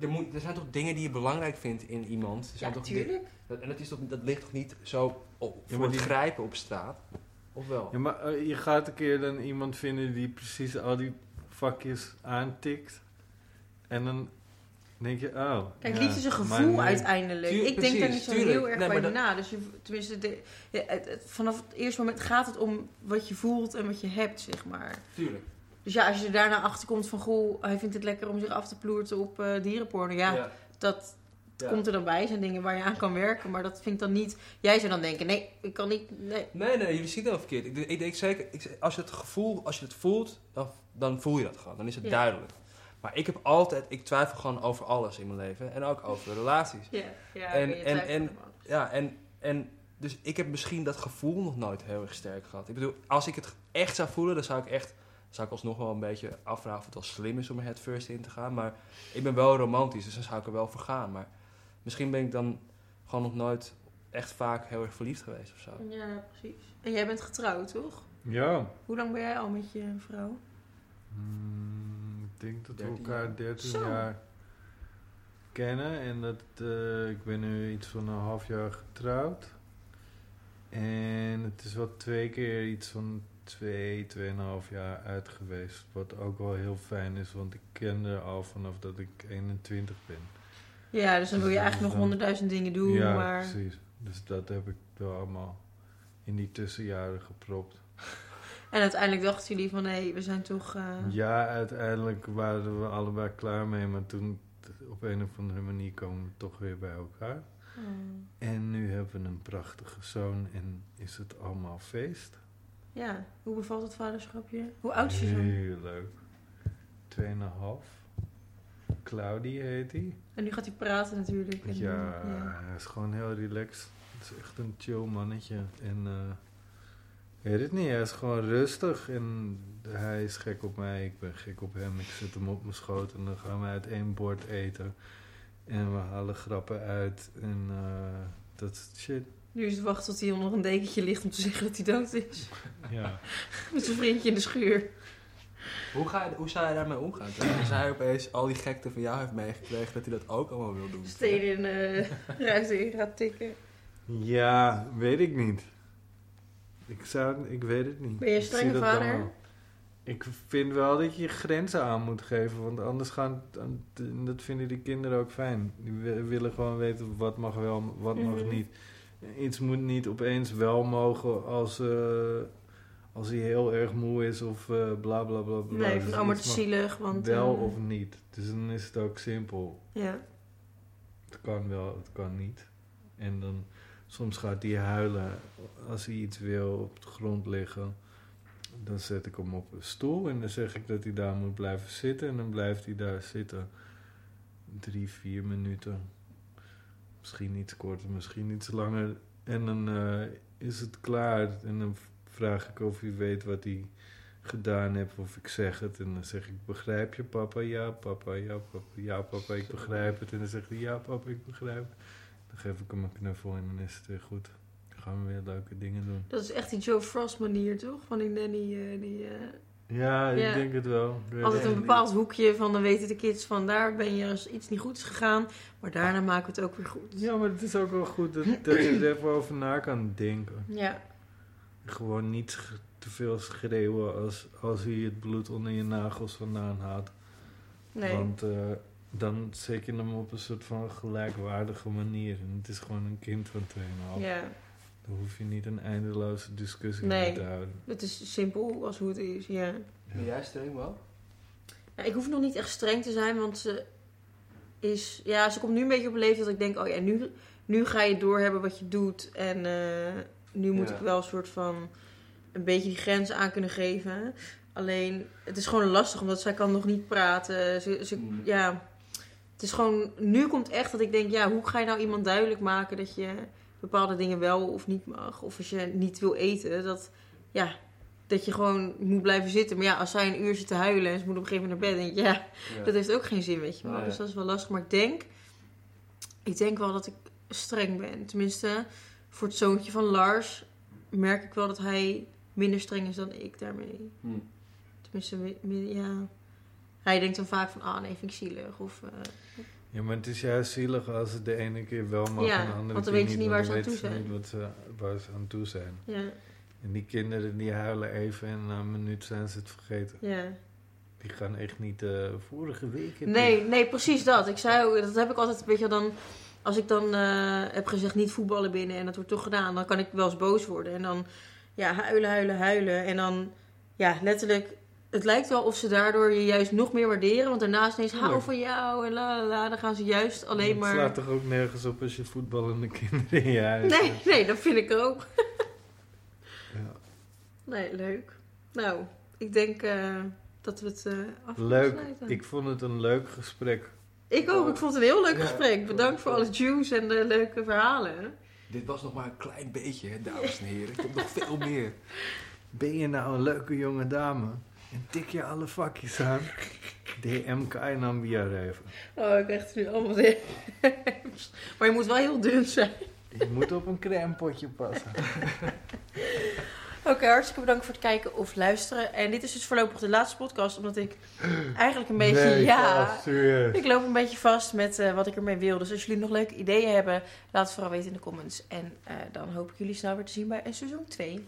Er, moet, er zijn toch dingen die je belangrijk vindt in iemand? Er zijn toch di- Dat- En dat, is toch, dat ligt toch niet zo op,
Ja,
voor
maar
het
die-
grijpen op straat? Of wel?
Ja, maar eh, je gaat een keer dan iemand vinden die precies al die vakjes aantikt. En dan denk je, oh.
Kijk,
ja,
liefde is een
maar
gevoel
nee.
uiteindelijk.
Tuur-
ik denk daar
precies,
niet zo
tuurlijk.
heel erg
Nee,
bij
maar dat-
na. Dus je, tenminste, de- ja, het- het- vanaf het eerste moment gaat het om wat je voelt en wat je hebt, zeg maar.
Tuurlijk.
Dus ja, als je er daarna achter komt van, goh, hij vindt het lekker om zich af te ploerten op eh dierenporno. Ja, dat
Ja.
komt er dan bij. zijn dingen waar je aan kan werken, maar dat vind ik dan niet... Jij zou dan denken, nee, ik kan niet... Nee.
Nee, nee, jullie zien het wel verkeerd. Ik, ik denk zeker, ik, als, je het gevoel, als je het voelt, dan, dan voel je dat gewoon. Dan is het
Ja.
duidelijk. Maar ik heb altijd, ik twijfel gewoon over alles in mijn leven. En ook over relaties.
Ja, ja,
En- ben je en- twijfel en- Ja, en, en dus ik heb misschien dat gevoel nog nooit heel erg sterk gehad. Ik bedoel, als ik het echt zou voelen, dan zou ik echt, zou ik alsnog wel een beetje afvragen of het wel slim is om er het first in te gaan. Maar ik ben wel romantisch, dus dan zou ik er wel voor gaan. Maar misschien ben ik dan gewoon nog nooit echt vaak heel erg verliefd geweest of zo.
Ja, precies. En jij bent getrouwd, toch?
Ja.
Hoe lang ben jij al met je vrouw?
Hmm, ik denk dat we
13
elkaar 13
Zo.
jaar kennen. En dat eh, ik ben nu iets van een half jaar getrouwd. En het is wel twee keer iets van twee, tweeënhalf jaar uit geweest. Wat ook wel heel fijn is, want ik ken haar al vanaf dat ik 21 ben.
Ja, dus dan wil je
Ja,
eigenlijk nog
dan-
honderdduizend dingen doen,
ja,
maar...
precies. Dus dat heb ik wel allemaal in die tussenjaren gepropt.
En uiteindelijk dachten jullie van, hé, we zijn toch... eh,
Ja, uiteindelijk waren we allebei klaar mee, maar toen
op een of andere manier komen we toch weer bij elkaar.
Mm.
En nu hebben we een prachtige zoon en is het allemaal feest.
Ja, hoe bevalt het vaderschap je? Hoe oud is je zoon?
Heel leuk. Tweeënhalf. Claudie heet hij.
En nu gaat hij praten natuurlijk. En,
Ja, hij eh, is gewoon heel relaxed. Het is echt een chill mannetje. En eh ik weet het niet, hij is gewoon rustig. En hij is gek op mij, ik ben gek op hem. Ik zet hem op mijn schoot en dan gaan we uit één bord eten. En we halen grappen uit. En eh, dat is shit.
Nu is het wachten tot hij onder een dekentje ligt om te zeggen dat hij dood is.
Ja.
Met zijn vriendje in de schuur.
Hoe, ga je, hoe zou je daarmee omgaan? Als hij opeens al die gekte van jou heeft meegekregen, dat hij dat ook allemaal wil doen.
Steden in eh, ruiten in gaat tikken.
Ja, weet ik niet. Ik, zou, ik weet het niet.
Ben je een
Ik zie
strenge
dat dan
vader?
wel. Ik vind wel dat je je grenzen aan moet geven, want anders gaan... dan- Dat vinden die kinderen ook fijn. Die wi- willen gewoon weten wat mag wel, wat mag
Mhm.
niet. Iets moet niet opeens wel mogen als, eh, als hij heel erg moe is of eh, bla bla bla bla.
Nee,
Dus
van oh, maar het is
iets mag
zielig. Want,
Wel
eh,
of niet. Dus dan is het ook simpel.
Ja.
Het kan wel, het kan niet. En dan soms gaat hij huilen als hij iets wil op de grond liggen. Dan zet ik hem op een stoel en dan zeg ik dat hij daar moet blijven zitten. En dan blijft hij daar zitten. Drie, vier minuten. Misschien iets korter, misschien iets langer. En dan eh, is het klaar. En dan vraag ik of hij weet wat hij gedaan heeft of ik zeg het. En dan zeg ik, begrijp je papa? Ja, papa, ja, papa, ja, papa, ik begrijp het. En dan zegt hij, ja, papa, ik begrijp het. Dan geef ik hem een knuffel en dan is het weer goed. Dan gaan we weer leuke dingen doen.
Dat is echt die Joe Frost manier, toch? Van die nanny eh, die... eh,
Ja, ik
Ja.
denk het wel. Ik weet
Altijd
het
een
niet.
bepaald hoekje van dan weten de kids van daar ben je als iets niet goed is gegaan, maar daarna maken we het ook weer goed.
Ja, maar het is ook wel goed dat, dat je er even over na kan denken.
Ja.
Gewoon niet sch- te veel schreeuwen als, als hij het bloed onder je nagels vandaan haalt.
Nee.
Want eh, dan zet je hem op een soort van gelijkwaardige manier. En het is gewoon een kind van 2,5.
Ja.
Dan hoef je niet een eindeloze discussie
Nee.
mee te houden.
Het is simpel als hoe het is, ja.
Ben jij streng wel?
Nou, ik hoef nog niet echt streng te zijn, want ze is... Ja, ze komt nu een beetje op een leeftijd dat ik denk, oh ja, nu, nu ga je doorhebben wat je doet. En eh, nu moet
Ja.
ik wel een soort van een beetje die grens aan kunnen geven. Alleen, het is gewoon lastig, omdat zij kan nog niet praten. Ze, ze,
Mm.
Ja, het is gewoon... Nu komt echt dat ik denk, ja, hoe ga je nou iemand duidelijk maken dat je bepaalde dingen wel of niet mag? Of als je niet wil eten, dat... Ja, dat je gewoon moet blijven zitten. Maar ja, als zij een uur zit te huilen en ze moet op een gegeven moment naar bed, denk ik, ja, dat heeft ook geen zin, weet je wel.
Nee.
Dus dat is wel lastig. Maar ik denk, ik denk wel dat ik streng ben. Tenminste, voor het zoontje van Lars merk ik wel dat hij minder streng is dan ik daarmee.
Hmm.
Tenminste, mi- mi- ja. Hij denkt dan vaak van, ah nee, vind ik zielig. Of, eh,
Ja, maar het is juist zielig als het de ene keer wel mag
Ja,
en de andere
want dan
keer
weten ze
niet.
niet waar
want
ze aan
dan
toe
weten ze niet wat ze- waar ze aan toe zijn.
ja,
En die kinderen die huilen even en na een minuut zijn ze het vergeten.
ja.
Die gaan echt niet eh, vorige week. heb ik-
Nee, nee, precies dat. Ik zei ook, dat heb ik altijd een beetje dan... Als ik dan eh, heb gezegd niet voetballen binnen en dat wordt toch gedaan... dan kan ik wel eens boos worden. En dan ja, huilen, huilen, huilen. En dan ja, letterlijk... Het lijkt wel of ze daardoor je juist nog meer waarderen. Want daarnaast ineens hou
Tuurlijk.
van jou en la la la. Dan gaan ze juist alleen
Het slaat
maar...
toch ook nergens op als je voetballende kinderen in je huis
Nee,
hebt?
nee, dat vind ik ook.
Ja.
Nee, leuk. Nou, ik denk eh, dat we het eh af moeten
Leuk.
sluiten.
Ik vond het een leuk gesprek.
Ik ook. Ik vond het een heel leuk
Ja.
gesprek. Bedankt voor alle juice en de leuke verhalen.
Dit was nog maar een klein beetje, hè, dames en heren. Ik heb nog veel meer.
Ben je nou een leuke jonge dame? En tik je alle vakjes aan? DM en Ambiar even.
Oh, ik krijg er nu allemaal DM's. Maar je moet wel heel dun zijn.
Je moet op een crèmepotje passen.
Oké, hartstikke bedankt voor het kijken of luisteren. En dit is dus voorlopig de laatste podcast, omdat ik eigenlijk een beetje...
Nee, Oh,
ja,
gast, serieus.
ik loop een beetje vast met eh, wat ik ermee wil. Dus als jullie nog leuke ideeën hebben, laat het vooral weten in de comments. En eh, dan hoop ik jullie snel weer te zien bij eh, seizoen 2.